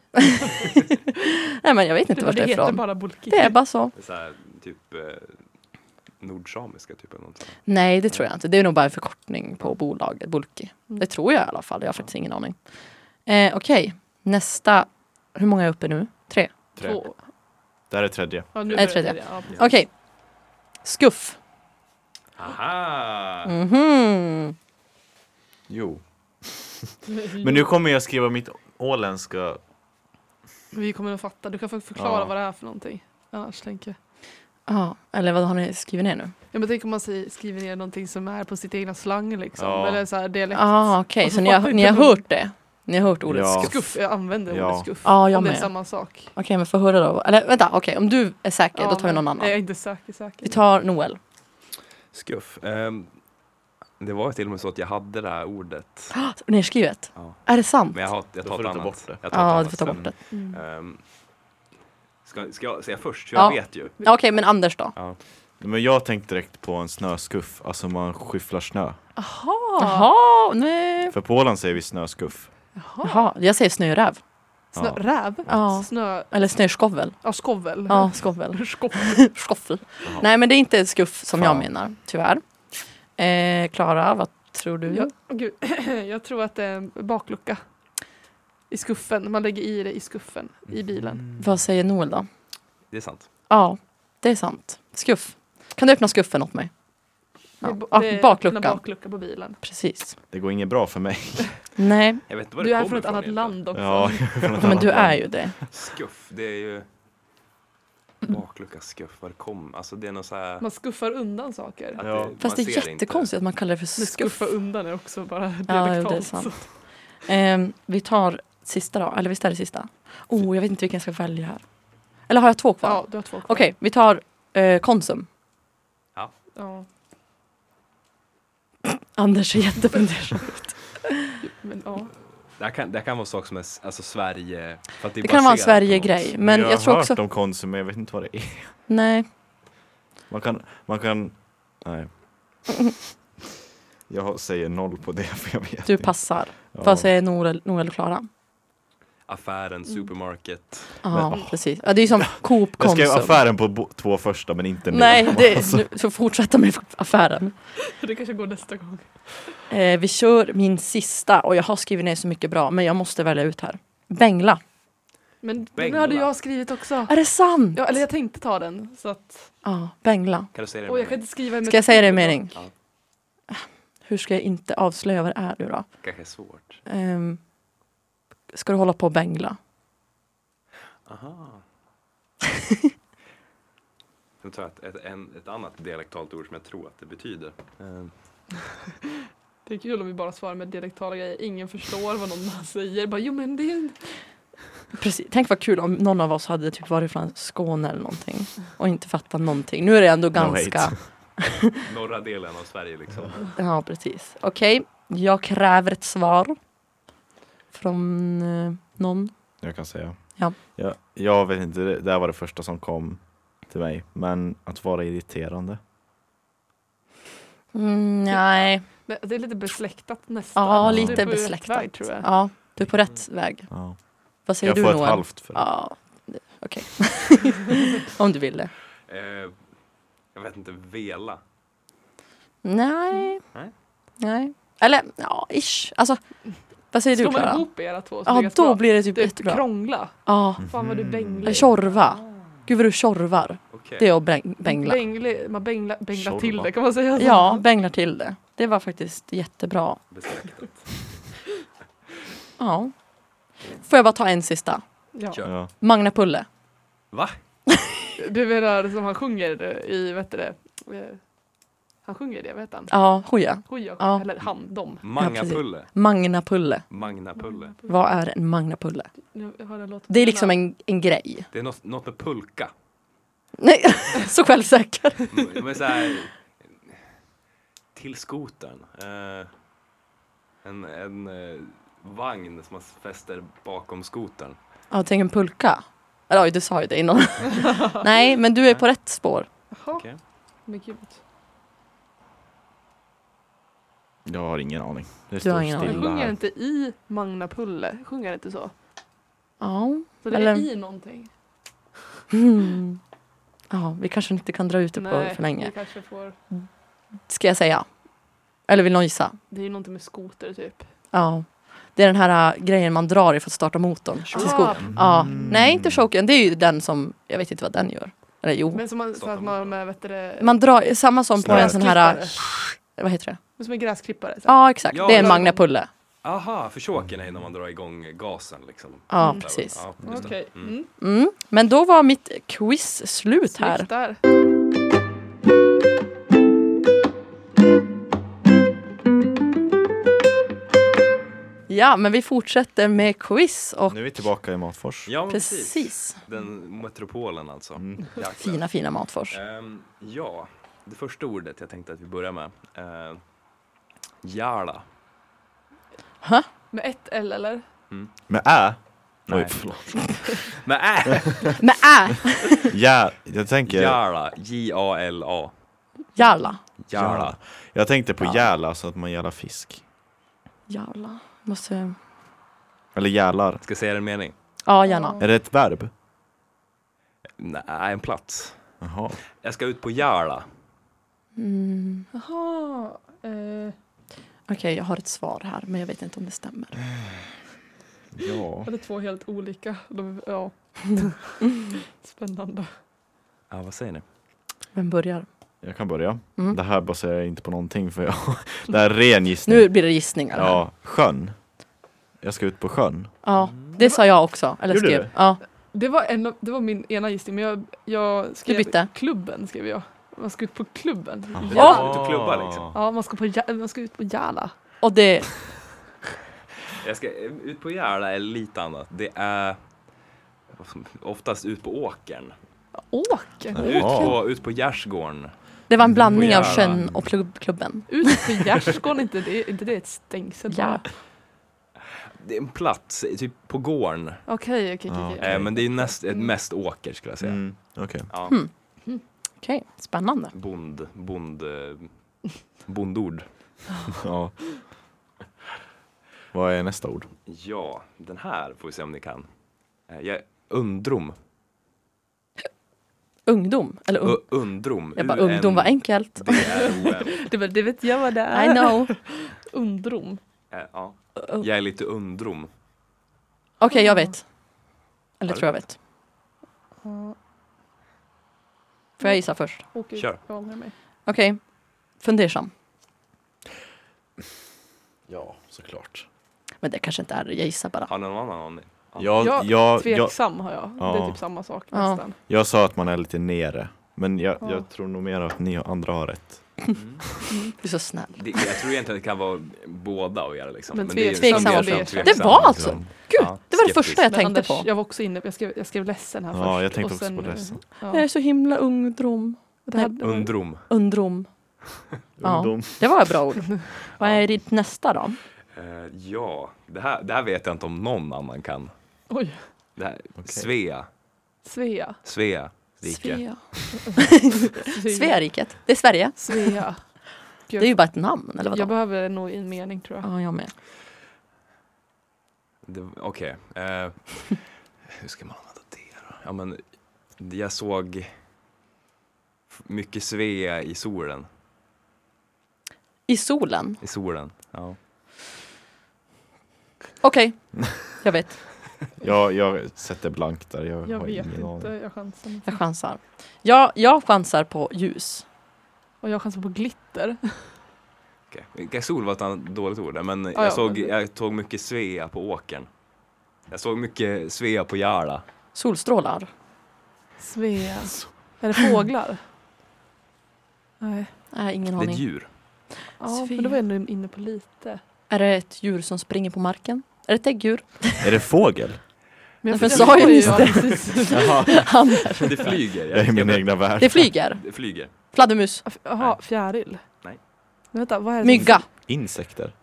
S1: Nej, men jag vet inte vart det är
S3: heter
S1: ifrån.
S3: bara bulky.
S1: Det är bara så.
S4: Det är så här, typ eh, nordsamiska typ eller något sånt.
S1: Nej, det tror jag inte. Det är nog bara en förkortning på bolaget, Bulky.
S3: Mm.
S1: Det tror jag i alla fall. Jag har faktiskt ingen aning. Eh, Okej, nästa. Hur många är uppe nu? Tre?
S2: Trä.
S3: Två.
S2: Där är tredje.
S3: Ja, nu
S1: Nej,
S3: börjar
S1: tredje.
S3: det. Ja, precis.
S1: Okej. Skuff.
S4: Aha!
S1: Mhm.
S2: Jo. Men nu kommer jag skriva mitt åländska.
S3: Vi kommer att fatta. Du kan få förklara
S2: Ja.
S3: vad det är för någonting. Annars tänker jag.
S1: Ja, eller vad har ni skrivit ner nu?
S3: Ja, men tänk om man säger, skriver ner någonting som är på sitt egna slang liksom.
S2: Ja.
S3: Eller så här dialekt.
S1: Ah, Okej,
S3: Och så
S1: så ni har,
S3: fattar
S1: ni
S3: inte
S1: har
S3: de-
S1: hört det? Ni har hört ordet
S2: Ja.
S1: skuff?
S3: Skuff. Jag använder
S2: Ja.
S3: ordet skuff.
S1: Ja, Ah, jag
S3: om det är
S1: med.
S3: samma sak.
S1: Okej, men få höra då. Eller vänta, okej, om du är säker,
S3: Ja,
S1: då tar vi någon
S3: men-
S1: annan.
S3: Nej, Jag är inte säker. säker.
S1: Vi tar Noel.
S4: Skuff. Ehm, det var till och med så att jag hade det här ordet.
S1: Nerskrivet.
S4: Ja.
S1: Är det sant?
S4: Men jag, har, jag
S2: Då får
S4: tar ett
S2: du ta
S4: annat.
S2: bort det.
S4: Jag tar ett
S1: Ja,
S4: annat
S1: du får ta bort
S4: sen.
S1: det.
S3: Mm.
S4: Ehm, ska, ska jag säga först?
S1: Ja.
S4: Jag vet ju.
S1: Ja, Okej, men Anders då?
S4: Ja.
S2: Men jag tänkte direkt på en snöskuff, alltså man skyfflar snö.
S3: Jaha.
S1: Jaha, nej.
S2: För på Åland säger vi snöskuff.
S3: Jaha.
S1: Jaha, jag säger snöräv.
S3: Snö,
S2: Ja.
S3: Räv?
S1: Ja.
S3: Snö...
S1: Eller snöskovel.
S3: Ja, skovel.
S1: Ja, skovel.
S3: Skovel.
S1: Skoffel.
S2: Jaha.
S1: Nej, men det är inte ett skuff som jag
S2: Fan.
S1: menar, tyvärr. Eh, Klara, vad tror du?
S3: Ja. Åh, Gud. Jag tror att det är en baklucka. I skuffen. Man lägger i det i skuffen. I
S4: Mm.
S3: bilen.
S1: Vad säger Noel då?
S4: Det är sant.
S1: Ja, det är sant. Skuff. Kan du öppna skuffen åt mig? Ja.
S3: Det är bo-
S1: Ja,
S3: det är en
S1: bakluckan.
S3: baklucka på bilen.
S1: Precis.
S2: Det går inget bra för mig.
S1: Nej,
S4: Jag vet inte var
S3: Du
S4: det
S3: är
S4: kommer
S3: från ett
S4: ifrån
S3: annat
S4: egentligen.
S3: land också.
S2: Ja,
S1: men du är ju det.
S4: Skuff, det är ju... Baklucka, skuff, var det kom? Alltså det är något så här...
S3: Man skuffar undan saker.
S4: att
S2: Ja.
S4: man
S1: Fast det
S4: ser
S1: är
S4: inte.
S1: jättekonstigt att man kallar det för
S3: Men
S1: skuff.
S3: skuffa undan är också bara
S1: Ja, jo,
S3: dialektalt.
S1: det är sant. Ehm, vi tar sista då, eller visst är det sista? Oh, jag vet inte vilken jag ska välja här. Eller har jag två kvar?
S3: Ja, du har två kvar.
S1: Okej, vi tar eh, Konsum.
S3: Ja,
S1: Anders är jättefundersam.
S3: men ja.
S4: Det här kan, det här kan vara saker som är s- alltså Sverige... För att det, är
S1: Det kan vara en
S4: baserat på
S1: Sverige-grej,
S4: något.
S1: men jag, tror också...
S2: har hört om Konsum, men jag vet inte vad det är.
S1: Nej,
S2: Man kan, man kan, nej. Jag säger noll på det, för jag vet
S1: du
S2: inte.
S1: passar.
S2: Ja.
S1: Vad säger Noel, Noel och Klara?
S4: Affären,
S1: Mm.
S4: supermarket.
S1: Ja,
S2: Men-
S1: precis. Ja, det är ju som Coop
S2: Jag skrev
S1: Konsum.
S2: affären på bo- två första, men inte nu.
S1: Nej, det,
S2: Alltså,
S1: nu, så fortsätta med affären.
S3: Det kanske går nästa gång.
S1: Eh, vi kör min sista och jag har skrivit ner så mycket bra, men jag måste välja ut här. Bengla.
S3: Men den
S4: Bengla.
S3: hade jag skrivit också.
S1: Är det sant?
S3: Ja, eller jag tänkte ta den. Så att,
S1: Ja, Bengla.
S4: Kan du säga det?
S3: och jag
S4: med
S3: kan
S4: mig?
S3: inte skriva med
S1: Ska jag säga det i
S3: fingret.
S1: mening?
S4: Ja.
S1: Hur ska jag inte avslöja vad det är nu då?
S4: Kanske är svårt.
S1: Ehm, ska du hålla på och bängla?
S4: Aha. Sen tar jag ett, ett, en, ett annat dialektalt ord som jag tror att det betyder. Eh,
S3: Det är kul om vi bara svarar med dialektala grejer. Ingen förstår vad någon annan säger. Bara, jo men det är...
S1: Precis. Tänk vad kul om någon av oss hade typ varit från Skåne eller någonting och inte fattat någonting. Nu är det ändå ganska...
S2: hate.
S4: norra delen av Sverige liksom.
S1: ja, precis. Okej, jag kräver ett svar. Från eh, någon.
S2: Jag kan säga.
S1: Ja.
S2: Jag, jag vet inte, det det här var det första som kom till mig. Men att vara irriterande.
S1: Mm, nej.
S3: Men Det är lite besläktat nästan.
S1: Ja,
S3: Så det är
S1: lite
S3: på rätt väg,
S1: besläktat.
S3: tror jag.
S1: Ja, du är på rätt väg.
S2: Ja.
S1: Vad säger
S2: Jag
S1: du
S2: får
S1: Noel?
S2: ett halvt för det.
S1: Ja, det- okej. Om du vill det.
S4: Eh, jag vet inte, vela.
S3: Mm,
S1: Nej.
S4: Nej.
S1: Nej. Eller ja, ish. Alltså, vad säger
S3: Slår
S1: du
S3: man
S1: Klara?
S3: ihop era två så
S1: Ja, då
S3: blir det ganska bra.
S1: blir det typ
S3: Det är
S1: jättebra.
S3: krångla.
S1: Ja,
S3: Fan vad du
S4: Mhm.
S3: bänglar.
S1: en tjorva. Gud vad du tjorvar.
S4: Okej.
S1: Det är att bäng- bängla.
S3: Bängla, man bängla, bängla
S2: Tjorva.
S3: till det kan man säga. så?
S1: Ja, bänglar till det. Det var faktiskt jättebra.
S4: Besläktat.
S1: Ja. Får jag bara ta en sista?
S3: Ja.
S4: Kör.
S2: Ja.
S1: Magna Pulle.
S4: Va?
S3: Du menar som han sjunger i, vad heter det? Eh, Han sjunger det, vad heter han?
S1: Ja, hoja.
S3: Hoja,
S1: Ja.
S3: eller han, dom.
S4: Mangapulle.
S1: Magna Pulle.
S4: Magnapulle.
S1: Vad är en Magna Pulle?
S3: Nu har den låten-
S1: Det är liksom en, en grej.
S4: Det är något, något med pulka.
S1: Nej, så självsäker.
S4: Men så här, till skotern. Eh, en en eh, vagn som man fäster bakom skotern.
S1: Ja, tänk en pulka. Eller oj, du sa ju det innan. Nej, men du är på rätt spår.
S3: Jaha,
S4: Okej.
S3: men gud.
S2: Jag har ingen aning. Det
S1: Du har ingen
S3: Men
S1: aning.
S2: stilla
S3: sjunger
S2: här.
S3: inte i Magna Pulle? Sjunger inte så?
S1: Ja.
S3: Så det
S1: Eller-
S3: är i någonting?
S1: Mm. Ja, vi kanske inte kan dra ut det Typ på för länge.
S3: vi kanske får...
S1: Ska jag säga? Eller vill någon gissa?
S3: Det är ju någonting med skoter typ.
S1: Ja. Det är den här äh, grejen man drar i för att starta motorn. Till sko-
S2: Mm.
S3: Ah,
S1: Ja.
S4: Mm.
S1: Nej, inte choken. Det är ju den som, jag vet inte vad den gör. Eller jo.
S3: men som man, så att man med, vet du det,
S1: Man drar, samma som på
S2: Snöre.
S1: en sån här, äh,
S3: Klippare.
S1: vad heter det?
S3: som en gräsklippare. så här.
S1: Ja, exakt.
S4: Ja,
S1: Det är en
S4: ja.
S1: magnapulle.
S4: Aha, försåken är när man drar igång gasen liksom.
S1: Ja,
S3: Mm.
S1: precis.
S4: Ja, just det.
S3: Okej.
S4: Mm.
S3: Mm.
S1: Mm. Men då var mitt quiz slut här.
S3: Snyggt där.
S1: Ja, men vi fortsätter med quiz och
S2: Nu är vi tillbaka i Matfors.
S4: Ja, men precis.
S1: precis.
S4: Den metropolen alltså.
S2: Mm.
S4: Jäklar.
S1: Fina, fina Matfors.
S4: Ehm, ja, det första ordet jag tänkte att vi börjar med. Uh, Järla.
S3: Med ett L eller?
S2: Men ä?
S4: Nej.
S2: Oj, förlåt.
S4: Men äh!
S1: Men äh,
S2: Ja, jag tänker...
S4: Järla. J-A-L-A.
S1: jalla.
S4: Järla.
S2: Jag tänkte på
S1: Ja.
S2: gäla, så att man gälar fisk.
S1: Jalla. Måste,
S2: Eller gälar.
S4: Ska jag säga en mening?
S1: ja gärna.
S2: Är det ett verb?
S4: Nej, en plats.
S2: Jaha.
S4: Jag ska ut på Järla.
S1: Mm.
S3: Jaha. Eh,
S1: Okej, jag har ett svar här, men jag vet inte om det stämmer.
S2: Ja.
S3: ja, det är två helt olika. De, ja. Spännande.
S4: Ja, vad säger ni?
S1: Vem börjar?
S2: Jag kan börja.
S1: Mm.
S2: Det här baserar jag inte på någonting för jag... Det här är ren gissning.
S1: Nu blir det gissningar. här.
S2: Ja, sjön. Jag ska ut på sjön.
S1: ja. Det sa jag också. Eller
S2: Gjorde
S1: skrev.
S2: du?
S1: Ja,
S3: Det var, en, av- det var min ena gissning, men jag, jag skrev
S1: bytte.
S3: klubben. Skrev jag. Man ska ut på klubben.
S1: Ja.
S4: Ut och klubba liksom.
S3: Ja, man ska, på, Ja- man ska ut på Järla.
S1: och det...
S4: Jag ska eh, ut på Järla är lite annat. Det är vad som- oftast ut på åkern.
S3: Åk!
S2: Ja.
S4: Ut på, ut på gärdsgården.
S1: Det var en blandning av
S4: Jävlar.
S1: kön och klubb, klubben.
S3: Ut på gärdsgården, inte det, inte det ett stängsel?
S1: Ja.
S4: Det är en plats, typ på gården.
S3: Okej, okej,
S2: Ja,
S3: okej.
S2: okej.
S4: Eh, men det är näst, eh, mest åker skulle jag säga.
S2: Mm, Okej.
S4: Ja,
S1: Mm. Okej, spännande.
S4: bond, bond, eh, bondord.
S2: Ja. Vad är nästa ord?
S4: Ja, den här får vi se om ni kan. Eh, jag, undrom.
S1: Ungdom. Eller ung...
S4: U- undrom.
S1: Jag bara, ungdom var enkelt.
S4: D-R-O-M.
S3: Det, var, det vet jag vad det
S1: I
S3: är.
S1: know.
S3: Undrom.
S4: Eh, ja.
S1: Okej,
S4: Jag är lite undrom.
S1: jag vet. Eller
S4: Har du
S1: tror jag vet.
S3: Ja,
S1: Får jag gissa först?
S3: åker,
S4: Kör.
S3: Jag ångrar mig.
S1: Okej. Fundersam.
S2: Ja, såklart.
S1: Men det kanske inte är det, jag gissar bara.
S4: Har någon annan aning?
S2: Jag,
S3: Ja,
S2: jag, jag, jag,
S3: Tveksam har jag. Det är
S2: Ja.
S3: typ samma sak
S1: Ja.
S3: nästan.
S2: sa att man är lite nere, men jag,
S3: Ja.
S2: jag tror nog mer att ni andra har rätt.
S4: Mm.
S1: Du är så snäll.
S4: Det, jag tror egentligen det kan vara båda och göra liksom.
S3: Men
S4: det är ju
S3: tveksam
S4: mer
S3: och
S4: som
S3: tveksam.
S1: Det var alltså-
S4: liksom.
S1: Gud,
S4: Ja,
S1: det var det
S4: skeptisk.
S1: första jag
S3: Men
S1: tänkte
S3: Anders,
S1: på.
S3: Jag var också inne på, jag skrev, jag skrev ledsen här först.
S2: Ja, jag tänkte
S3: och
S2: också
S3: sen-
S2: på ledsen.
S1: Jag är
S3: Ja.
S1: så himla ungdom.
S3: Det här, det var-
S4: Undrom.
S1: Undrom. Ja.
S2: Ungdom.
S1: Det var ett bra ord. Vad är ditt nästa då?
S4: Eh, ja, det här, det här vet jag inte om någon annan kan.
S3: Oj,
S4: Det här, Svea.
S3: Svea.
S4: Svea. Rike.
S1: Svea. Sveriket. Det är Sverige.
S3: Svea.
S1: Det är ju bara ett namn, eller
S3: Jag
S1: vadå?
S3: behöver nog en mening tror jag.
S1: Ja, jag med.
S4: Det- Okej. eh, hur ska man använda det då? Ja, men jag såg f- mycket Svea i solen.
S1: I solen.
S4: I solen. Ja.
S1: Okej, jag vet.
S2: Jag, jag sätter blankt där, jag,
S3: Jag
S2: har
S3: vet
S2: ingen
S3: inte,
S2: aning.
S3: jag chansar. inte.
S1: Jag chansar. Jag, jag chansar på ljus.
S3: Och jag chansar på glitter.
S4: Okay. Sol var ett annat dåligt ord, där, men
S3: ja,
S4: jag, såg,
S3: men-
S4: jag såg mycket Svea på åkern. Jag såg mycket Svea på Järla.
S1: Solstrålar.
S3: Svea. Är det fåglar? Nej.
S1: Nej, ingen
S4: Det är ett
S1: aning.
S4: djur.
S3: Ja,
S1: Svea.
S3: men då var jag ändå inne på lite.
S1: Är det ett djur som springer på marken? Är det ett däggdjur?
S2: Är det fågel?
S3: Men
S1: Nej, för sa ju
S3: förstår
S1: just
S3: precis.
S2: Jaha,
S1: Anders.
S4: Det flyger.
S2: jag är i min
S4: vet-
S2: egna värld.
S1: Det flyger.
S4: Det flyger.
S1: Fladdermus.
S3: Jaha, fjäril?
S4: Nej.
S3: Men vänta, vad är det?
S1: Mygga.
S2: Insekter.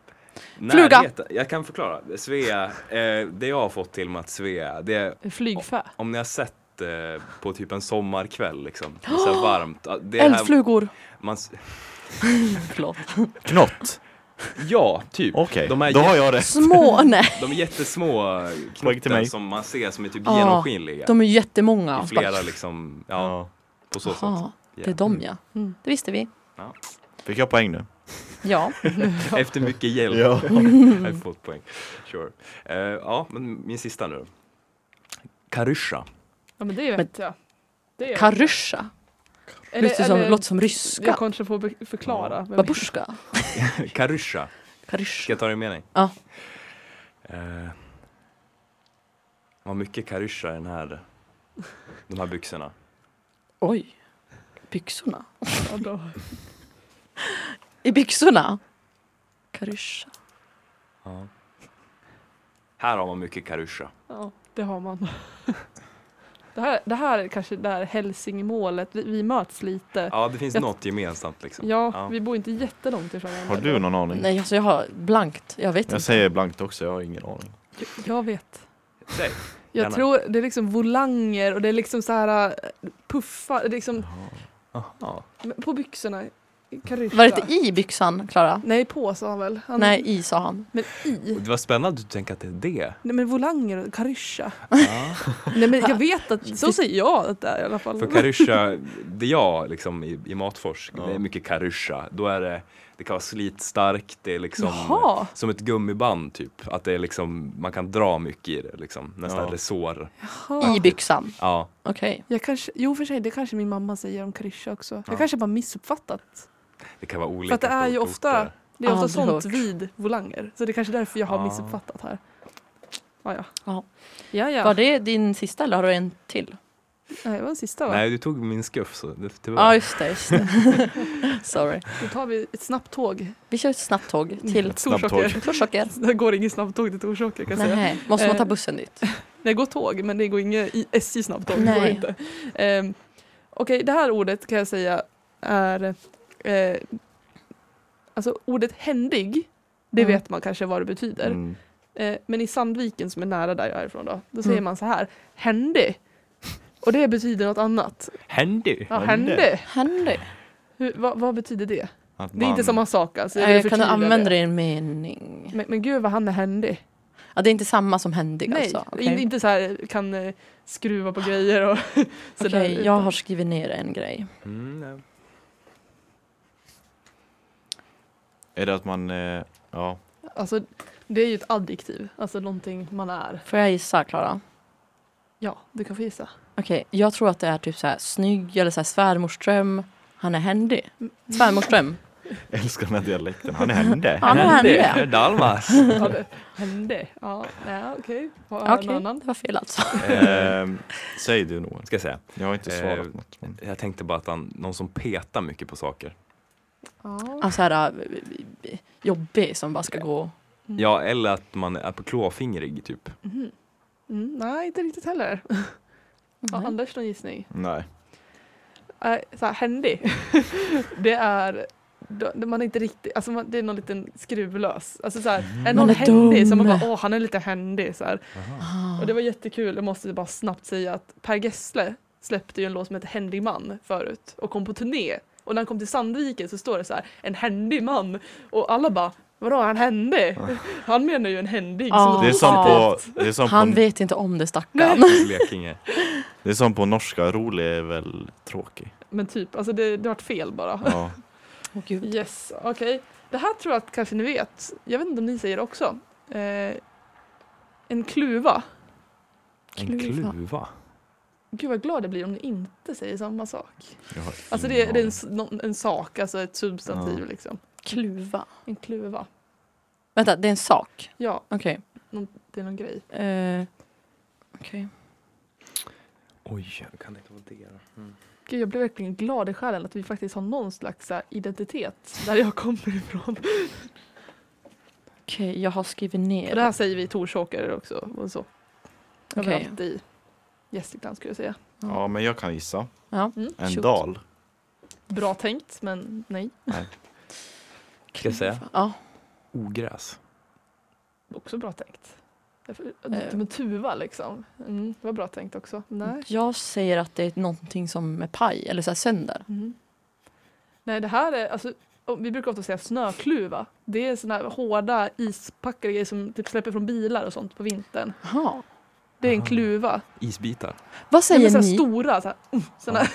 S1: Fluga.
S4: Närheten- Jag kan förklara. Svea, eh, det jag har fått till mig att Svea, det är
S3: Flygfä?
S4: om ni har sett eh, på typ en sommarkväll liksom. Det är så här varmt. Ja, Det här,
S1: Eldflugor.
S4: man, s-
S1: Förlåt.
S2: Knott.
S4: ja, typ.
S2: Okej,
S4: De är
S2: då har
S4: jätte-
S2: jag det.
S1: Små, nej.
S4: De är jättesmå
S2: Poäng till
S4: knotten
S2: mig.
S4: som man ser som är typ
S1: Ja,
S4: genomskinliga.
S1: De är ju jättemånga.
S4: I flera liksom, ja,
S2: Ja.
S4: på så sätt.
S1: Jaha,
S4: Ja.
S1: det är de ja.
S3: Mm.
S1: Det visste vi.
S2: Fick jag poäng nu?
S1: Ja.
S4: Efter mycket hjälp
S2: Ja.
S4: har
S1: Mm.
S4: jag fått poäng. Sure. Eh, ja, men min sista nu. Karyscha.
S3: Ja men det vet jag. Det är-
S1: Karyscha.
S3: Eller-
S1: Låter som,
S3: eller-
S1: låter som
S3: Jag
S1: ryska.
S3: kanske får be- förklara. vem-
S1: Babusjka.
S4: Karyscha. Ska
S1: Karyscha.
S4: jag ta det med dig?
S1: Ja.
S4: Eh, vad mycket Karyscha i den här, de här byxorna.
S1: Oj. Byxorna.
S3: Ja, då.
S1: I byxorna. Karyscha.
S4: Ja. Här har man mycket Karyscha.
S3: Ja, det har man. Det här, det här är kanske det här hälsingmålet, vi, vi möts lite.
S4: Ja, det finns
S3: Jag-
S4: något gemensamt liksom.
S3: Ja,
S4: Ja.
S3: vi bor inte jättelångt ifrån varandra.
S2: Har du någon aning?
S1: Nej, alltså jag har blankt. Jag vet
S2: Mm. Jag
S1: inte.
S2: säger blankt också, jag har ingen aning.
S3: Jag- Jag vet.
S4: Säg.
S3: Jag
S4: Gärna.
S3: tror det är liksom volanger och det är liksom så här äh, puffar, det är liksom
S4: Aha.
S3: men på byxorna. Karyscha.
S1: Var det inte i byxan, Klara?
S3: Nej, på sa han väl? Han,
S1: Nej, i sa han.
S3: Men i?
S4: Det var spännande att du tänker att det är det.
S3: Nej men volanger och karyscha.
S4: Ja.
S3: Nej men jag vet att, så säger jag att det är i alla fall.
S4: För Karyscha, det jag liksom i, i Matfors,
S2: Ja.
S4: det är mycket Karyscha. Då är det, det kan vara slitstarkt, det är liksom
S3: Jaha.
S4: som ett gummiband typ. Att det är liksom, man kan dra mycket i det liksom. Nästan
S2: Ja.
S4: resår.
S3: Jaha.
S1: I byxan.
S4: Ja.
S1: Okej.
S3: Jag kanske, jo för sig, det kanske min mamma säger om karyscha också.
S4: Ja.
S3: Jag kanske bara missuppfattat.
S4: Det kan vara olika.
S3: För att det är
S4: på
S3: ju
S4: olika
S3: ofta-
S4: orter.
S3: Det är ofta
S1: Aldrig
S3: sånt
S1: hört.
S3: vid volanger. Så det är kanske därför jag har
S4: Ah.
S3: missuppfattat här. Ah, ja.
S1: Ja.
S3: ja. ja.
S1: Var det din sista eller har du en till?
S3: Nej, det var den sista va?
S4: Nej, du tog min skuff så det,
S1: Ja,
S4: tyvärr.
S1: ah, just det. Just det. Sorry.
S3: Då tar vi ett snabbtåg.
S1: Vi kör ett snabbtåg till
S2: Ett snabbtåg.
S1: Torsåker.
S3: Det går inget snabbtåg till Torsåker kan jag säga. Nej.
S1: Nej, måste man ta
S3: Eh,
S1: bussen dit?
S3: Det går tåg men det går inget i- SJ snabbtåg. Det går
S1: Nej.
S3: inte. Ehm, Okej, det här ordet kan jag säga är eh, Alltså ordet händig, det
S1: Mm.
S3: vet man kanske vad det betyder.
S2: Mm.
S3: Eh, men i Sandviken som är nära där jag är ifrån då, då säger
S1: Mm.
S3: man så här, händig. Och det betyder något annat.
S4: Handy.
S3: Ja,
S2: Händig.
S3: händig.
S1: Händer
S3: Hur, vad, vad betyder det?
S2: Att
S3: Det är inte
S2: man-
S3: samma sak alltså. jag vill
S1: det? Kan du
S3: förtydliga
S1: använda det
S3: det.
S1: i en mening?
S3: Men, men gud vad han är händig.
S1: Ja, det är inte samma som händig
S3: Nej,
S1: alltså? Okej,
S3: in, inte så här kan eh, skruva på grejer och sådär.
S1: Okej, jag har skrivit ner en grej.
S4: Mm, ja.
S2: Är det att man, eh, ja.
S3: Alltså, det är ju ett adjektiv, alltså någonting man är.
S1: Får jag gissa, Klara?
S3: Ja, du kan få gissa.
S1: Okej, jag tror att det är typ så här snygg eller så här svärmorsdröm. Han är händig. Svärmorsdröm.
S2: Älskar den här dialekten. Han hände.
S1: Han är här nu.
S4: Dalmas.
S3: Ja, det hände. Ja, nej, okej. Har jag
S1: Okej,
S3: någon annan?
S1: det var fel alltså.
S2: Ehm, säg du Noel.
S4: Ska jag säga.
S2: Jag har inte
S4: Eh,
S2: svarat något. Men...
S4: Jag tänkte bara att han, någon som petar mycket på saker.
S3: Ja.
S1: Alltså här, eh, jobbig som bara ska gå.
S4: Ja, eller att man är på klåfingrig typ.
S3: Mhm. Mm, nej, inte riktigt heller. Ja,
S1: Mm.
S3: Anders, någon gissning?
S2: Nej.
S3: Eh, så här, händig. det är då- det- man är inte riktigt, alltså man, det är någon liten skruvlös. Alltså så här, är någon
S1: Mm. Man är
S3: händig så man
S1: dum.
S3: bara åh han är lite händig så här.
S1: Ah.
S3: Och det var jättekul, jag måste bara snabbt säga att Per Gessle släppte ju en låt som heter Händig man förut och kom på turné. Och när han kom till Sandviken så står det så här, en händig man. Och alla bara, vadå är han händig? Han menar ju en händig. som
S1: Ah.
S2: Det är som på, det är som
S1: Han
S2: på,
S1: vet inte om det stackarn.
S4: Blekinge.
S2: det är som på norska. Rolig är väl tråkig.
S3: Men typ, alltså det, det vart fel bara.
S2: Ja.
S1: Åh, gud.
S3: Yes, okej. Det här tror jag att kanske ni vet. Jag vet inte om ni säger det också. Eh, en kluva.
S4: En
S1: Kluva.
S4: kluva.
S3: Gud vad glad jag blir om ni inte säger samma sak.
S2: Jag har
S3: Alltså
S2: ingen
S3: det, är- det är en,
S2: aning.
S3: s- någon- en sak, alltså ett substantiv
S2: Ja.
S3: liksom.
S1: Kluva.
S3: En kluva.
S1: Vänta, det är en sak.
S3: Ja,
S1: Okej.
S3: det är någon grej.
S1: Eh, Okej.
S4: Oj, kan det inte vara det då? Mm.
S3: Gud, jag blev verkligen glad i själen att vi faktiskt har någon slags så här, identitet där jag kommer ifrån.
S1: Okej, jag har skrivit ner.
S3: Och det här säger vi i Torsåker också. Och så.
S1: Okej.
S3: Överallt i Gästrikland skulle jag säga.
S2: Ja, men jag kan gissa.
S1: Ja.
S3: Mm.
S2: En
S1: Shoot.
S2: dal.
S3: Bra tänkt, men nej.
S4: Ska jag säga?
S1: Ja.
S4: Ogräs.
S3: Också bra tänkt. Därför-
S1: Eh.
S3: Men tuva liksom. Mm, det var bra tänkt också. Nej.
S1: Jag säger att det är någonting som är paj eller så här sönder.
S3: Mm. Nej, det här är alltså. och Vi brukar ofta säga snökluva. Det är sådana här hårda ispackade grejer som typ släpper från bilar och sånt på vintern.
S1: Jaha.
S3: Det är en
S2: Ah.
S4: Aha.
S3: kluva.
S4: Isbitar.
S1: Vad
S3: Nej, men
S1: säger,
S3: sådana
S1: ni,
S3: stora så här, mm, såna här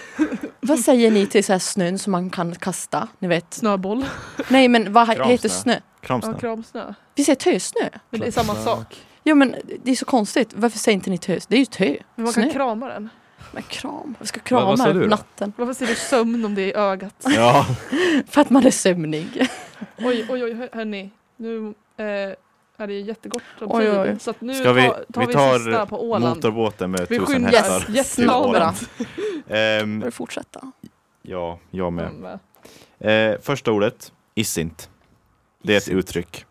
S1: vad säger ni till så här snön som man kan kasta? Ni vet.
S3: snöboll.
S1: Nej men vad he-
S2: Kramsnö.
S1: heter snö?
S2: Kramsnö.
S3: Ja, kramsnö.
S1: Vi säger tösnö.
S3: Men det är samma sak.
S1: Jo men det är så konstigt. Varför säger inte ni tös? Det är ju tö.
S3: Men man
S1: Snö.
S3: kan krama den.
S1: Men kram. Jag ska
S4: Vad- vad sa
S1: krama
S4: du då?
S1: natten.
S3: Varför ser du sömn om det är i ögat?
S2: Ja.
S1: För att man är sömnig.
S3: Oj, oj, oj, hör- hörni. Nu eh, är det jättegott om
S1: Oj,
S3: tid.
S1: oj.
S3: Så att nu
S2: Ska vi-
S3: tar, tar
S2: vi
S3: vi,
S2: tar
S3: sista på Åland.
S2: Motorbåten med
S3: Vi
S2: tusen
S3: skyndar
S2: hästar.
S3: oss
S2: till
S3: jättesnabbt.
S2: Åland. Ehm,
S1: Bör fortsätta.
S2: ja, jag med.
S3: Mm.
S2: Eh, första ordet. Issint. Det är ett uttryck.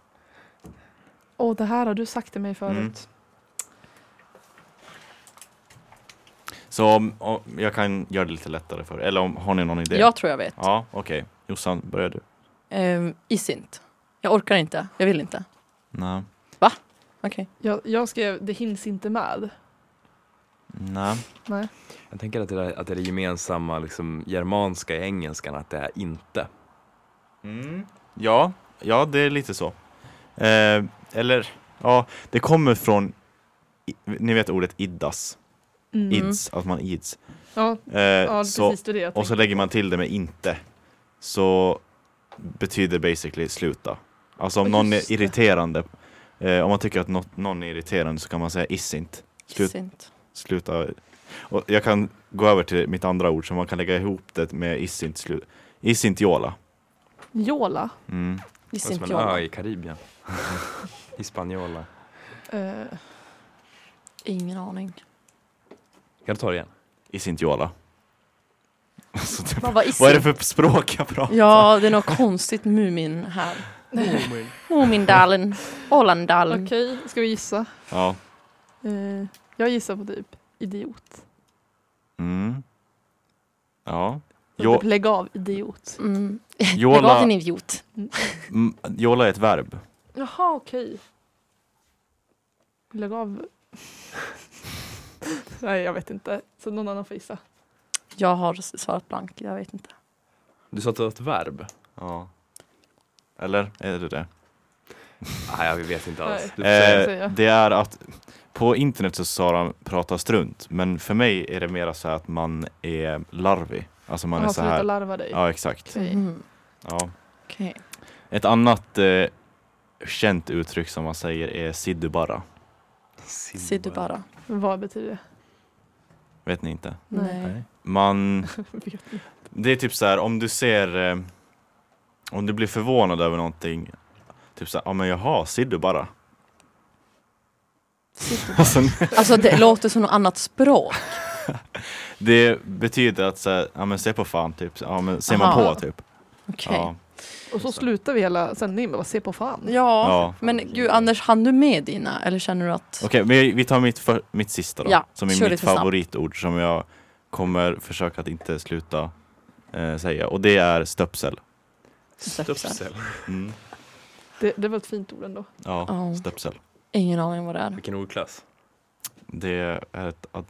S3: Åh, oh, det här har du sagt till mig
S2: Mm.
S3: förut.
S2: Så om, om, jag kan göra det lite lättare för er. Eller om, har ni någon idé?
S1: Jag tror jag vet.
S2: Ja, okej. Jossan, börjar du?
S1: Ehm, isint. Jag orkar inte. Jag vill inte.
S2: Nej.
S1: Okej.
S3: Jag, jag skrev det hinns inte med.
S2: Nej.
S3: Nej.
S4: Jag tänker att det, där, att det är det gemensamma liksom, germanska i engelskan, att det är inte.
S2: Mm. Ja, ja, det är lite så. Eh, eller, ja, det kommer från, i- ni vet ordet iddas,
S3: Mm.
S2: ids, att man ids.
S3: Ja,
S2: Eh,
S3: ja
S2: så,
S3: precis det är det jag
S2: och så
S3: tänkte.
S2: lägger man till det med inte, så betyder basically sluta. Alltså om
S3: Ja,
S2: någon
S3: just
S2: är
S3: det.
S2: irriterande, eh, om man tycker att något, någon är irriterande så kan man säga issint. Slut.
S1: Isint.
S2: sluta. Och jag kan gå över till mitt andra ord som man kan lägga ihop det med isint slu- Isintiola.
S3: Jola.
S2: Mm.
S4: Det är som
S1: Isint
S4: en ö
S1: jag.
S4: i Karibien. Hispaniola.
S3: Eh,
S1: Ingen aning.
S4: Kan du ta det igen?
S2: Isintiola. Alltså, typ,
S1: Vad var
S2: vad är det
S1: isint?
S2: för språk jag pratar?
S1: Ja, det är något konstigt Mumin här. Mumindalen. Ålandalen.
S3: Okej, ska vi gissa?
S2: Ja.
S3: Eh, jag gissar på typ idiot.
S2: Mm. Ja.
S3: Jo.
S2: Jo,
S3: Typ, lägg av idiot.
S1: Mm. Jag gav en
S2: jola,
S1: idiot.
S2: mm, jola är ett verb.
S3: Jaha, okej. Lägg av. Nej, jag vet inte. Så någon annan får gissa.
S1: Jag har s- svarat blank. Jag vet inte.
S4: Du sa att det var ett verb?
S2: Ja. Eller är det det?
S4: Nej, jag vet inte alls.
S3: Nej.
S4: Du får säga det.
S2: Eh,
S3: säga.
S2: det är att på internet så sa de prata strunt, men för mig är det mera så här att man är larvig. Alltså man är så
S3: Jaha, Sluta
S2: här.
S3: larva dig.
S2: Ja, exakt.
S3: Okej.
S1: Mhm.
S2: Ja.
S1: Okej.
S2: Ett annat eh, känt uttryck som man säger är sidubara.
S1: Ser du bara.
S3: Men Vad betyder det?
S2: Vet ni inte?
S1: Nej.
S2: Man,
S3: Vet inte.
S2: det är typ så här om du ser eh, Om du blir förvånad över någonting, typ såhär, ja men jaha, siddu bara. Alltså,
S1: Alltså det låter som något annat språk.
S2: det betyder att såhär, ja men se på fan typ, ja men ser man
S1: Aha.
S2: på typ.
S1: Okej.
S2: Ja,
S3: Och så slutar vi hela sändningen med att se på fan.
S1: Ja.
S2: ja.
S1: Men gud Anders, hann du med dina? Eller känner du att...
S2: Okej, men vi tar mitt, för, mitt sista då,
S1: Ja,
S2: som är
S1: kör
S2: mitt
S1: lite snabbt.
S2: favoritord som jag kommer försöka att inte sluta eh, säga och det är stöpsel.
S1: Stöpsel.
S2: Mm.
S3: Det, det var ett fint ord ändå.
S2: Ja,
S1: Ja.
S2: stöpsel.
S1: Ingen aning vad det är.
S4: Vilken ordklass.
S2: Det är ett, ad-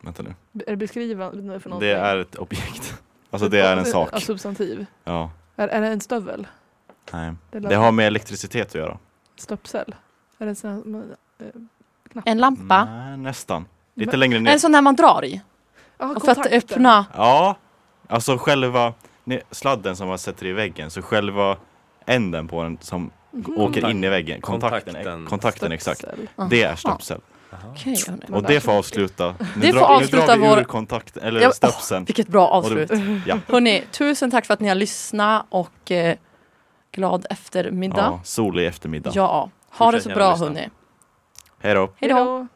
S2: vänta nu,
S3: Är det beskrivande för någonting?
S2: det är ett objekt. Alltså det är en sak.
S3: Ja, substantiv.
S2: Ja,
S3: Är, är det en stövel?
S2: nej.
S3: Det, är
S2: Det har med elektricitet att göra.
S3: Stöpsel? Är det en sån här, man-
S1: En lampa?
S2: Nej, nästan. Lite
S3: Men-
S2: längre ner.
S1: En sån där man drar i?
S3: Ja,
S1: För att
S3: kontakter.
S1: öppna?
S2: Ja, alltså själva ne- sladden som man sätter i väggen, så själva änden på den som
S1: Mm.
S3: Mhm.
S2: åker in i väggen, kontakten,
S4: Kontakten.
S2: kontakten, kontakten exakt,
S3: Stöpsel.
S2: det är stöpsel.
S1: Okej, hörni.
S2: Och det får avsluta. Nu
S1: Det får
S2: drar-
S1: avsluta
S2: nu drar vi
S1: vår-
S2: ur kontakt, eller
S1: Ja, åh,
S2: stöpseln.
S1: Vilket bra
S2: Och
S1: avslut.
S2: Ja,
S1: Hörni, tusen tack för att ni har lyssnat och eh, glad eftermiddag.
S2: ja, solig eftermiddag.
S1: Ja, ha det
S4: Fortsätt
S1: så
S4: gärna
S1: bra
S4: lyssna.
S1: hörni.
S2: Hej då.
S1: Hej då.
S3: Hejdå.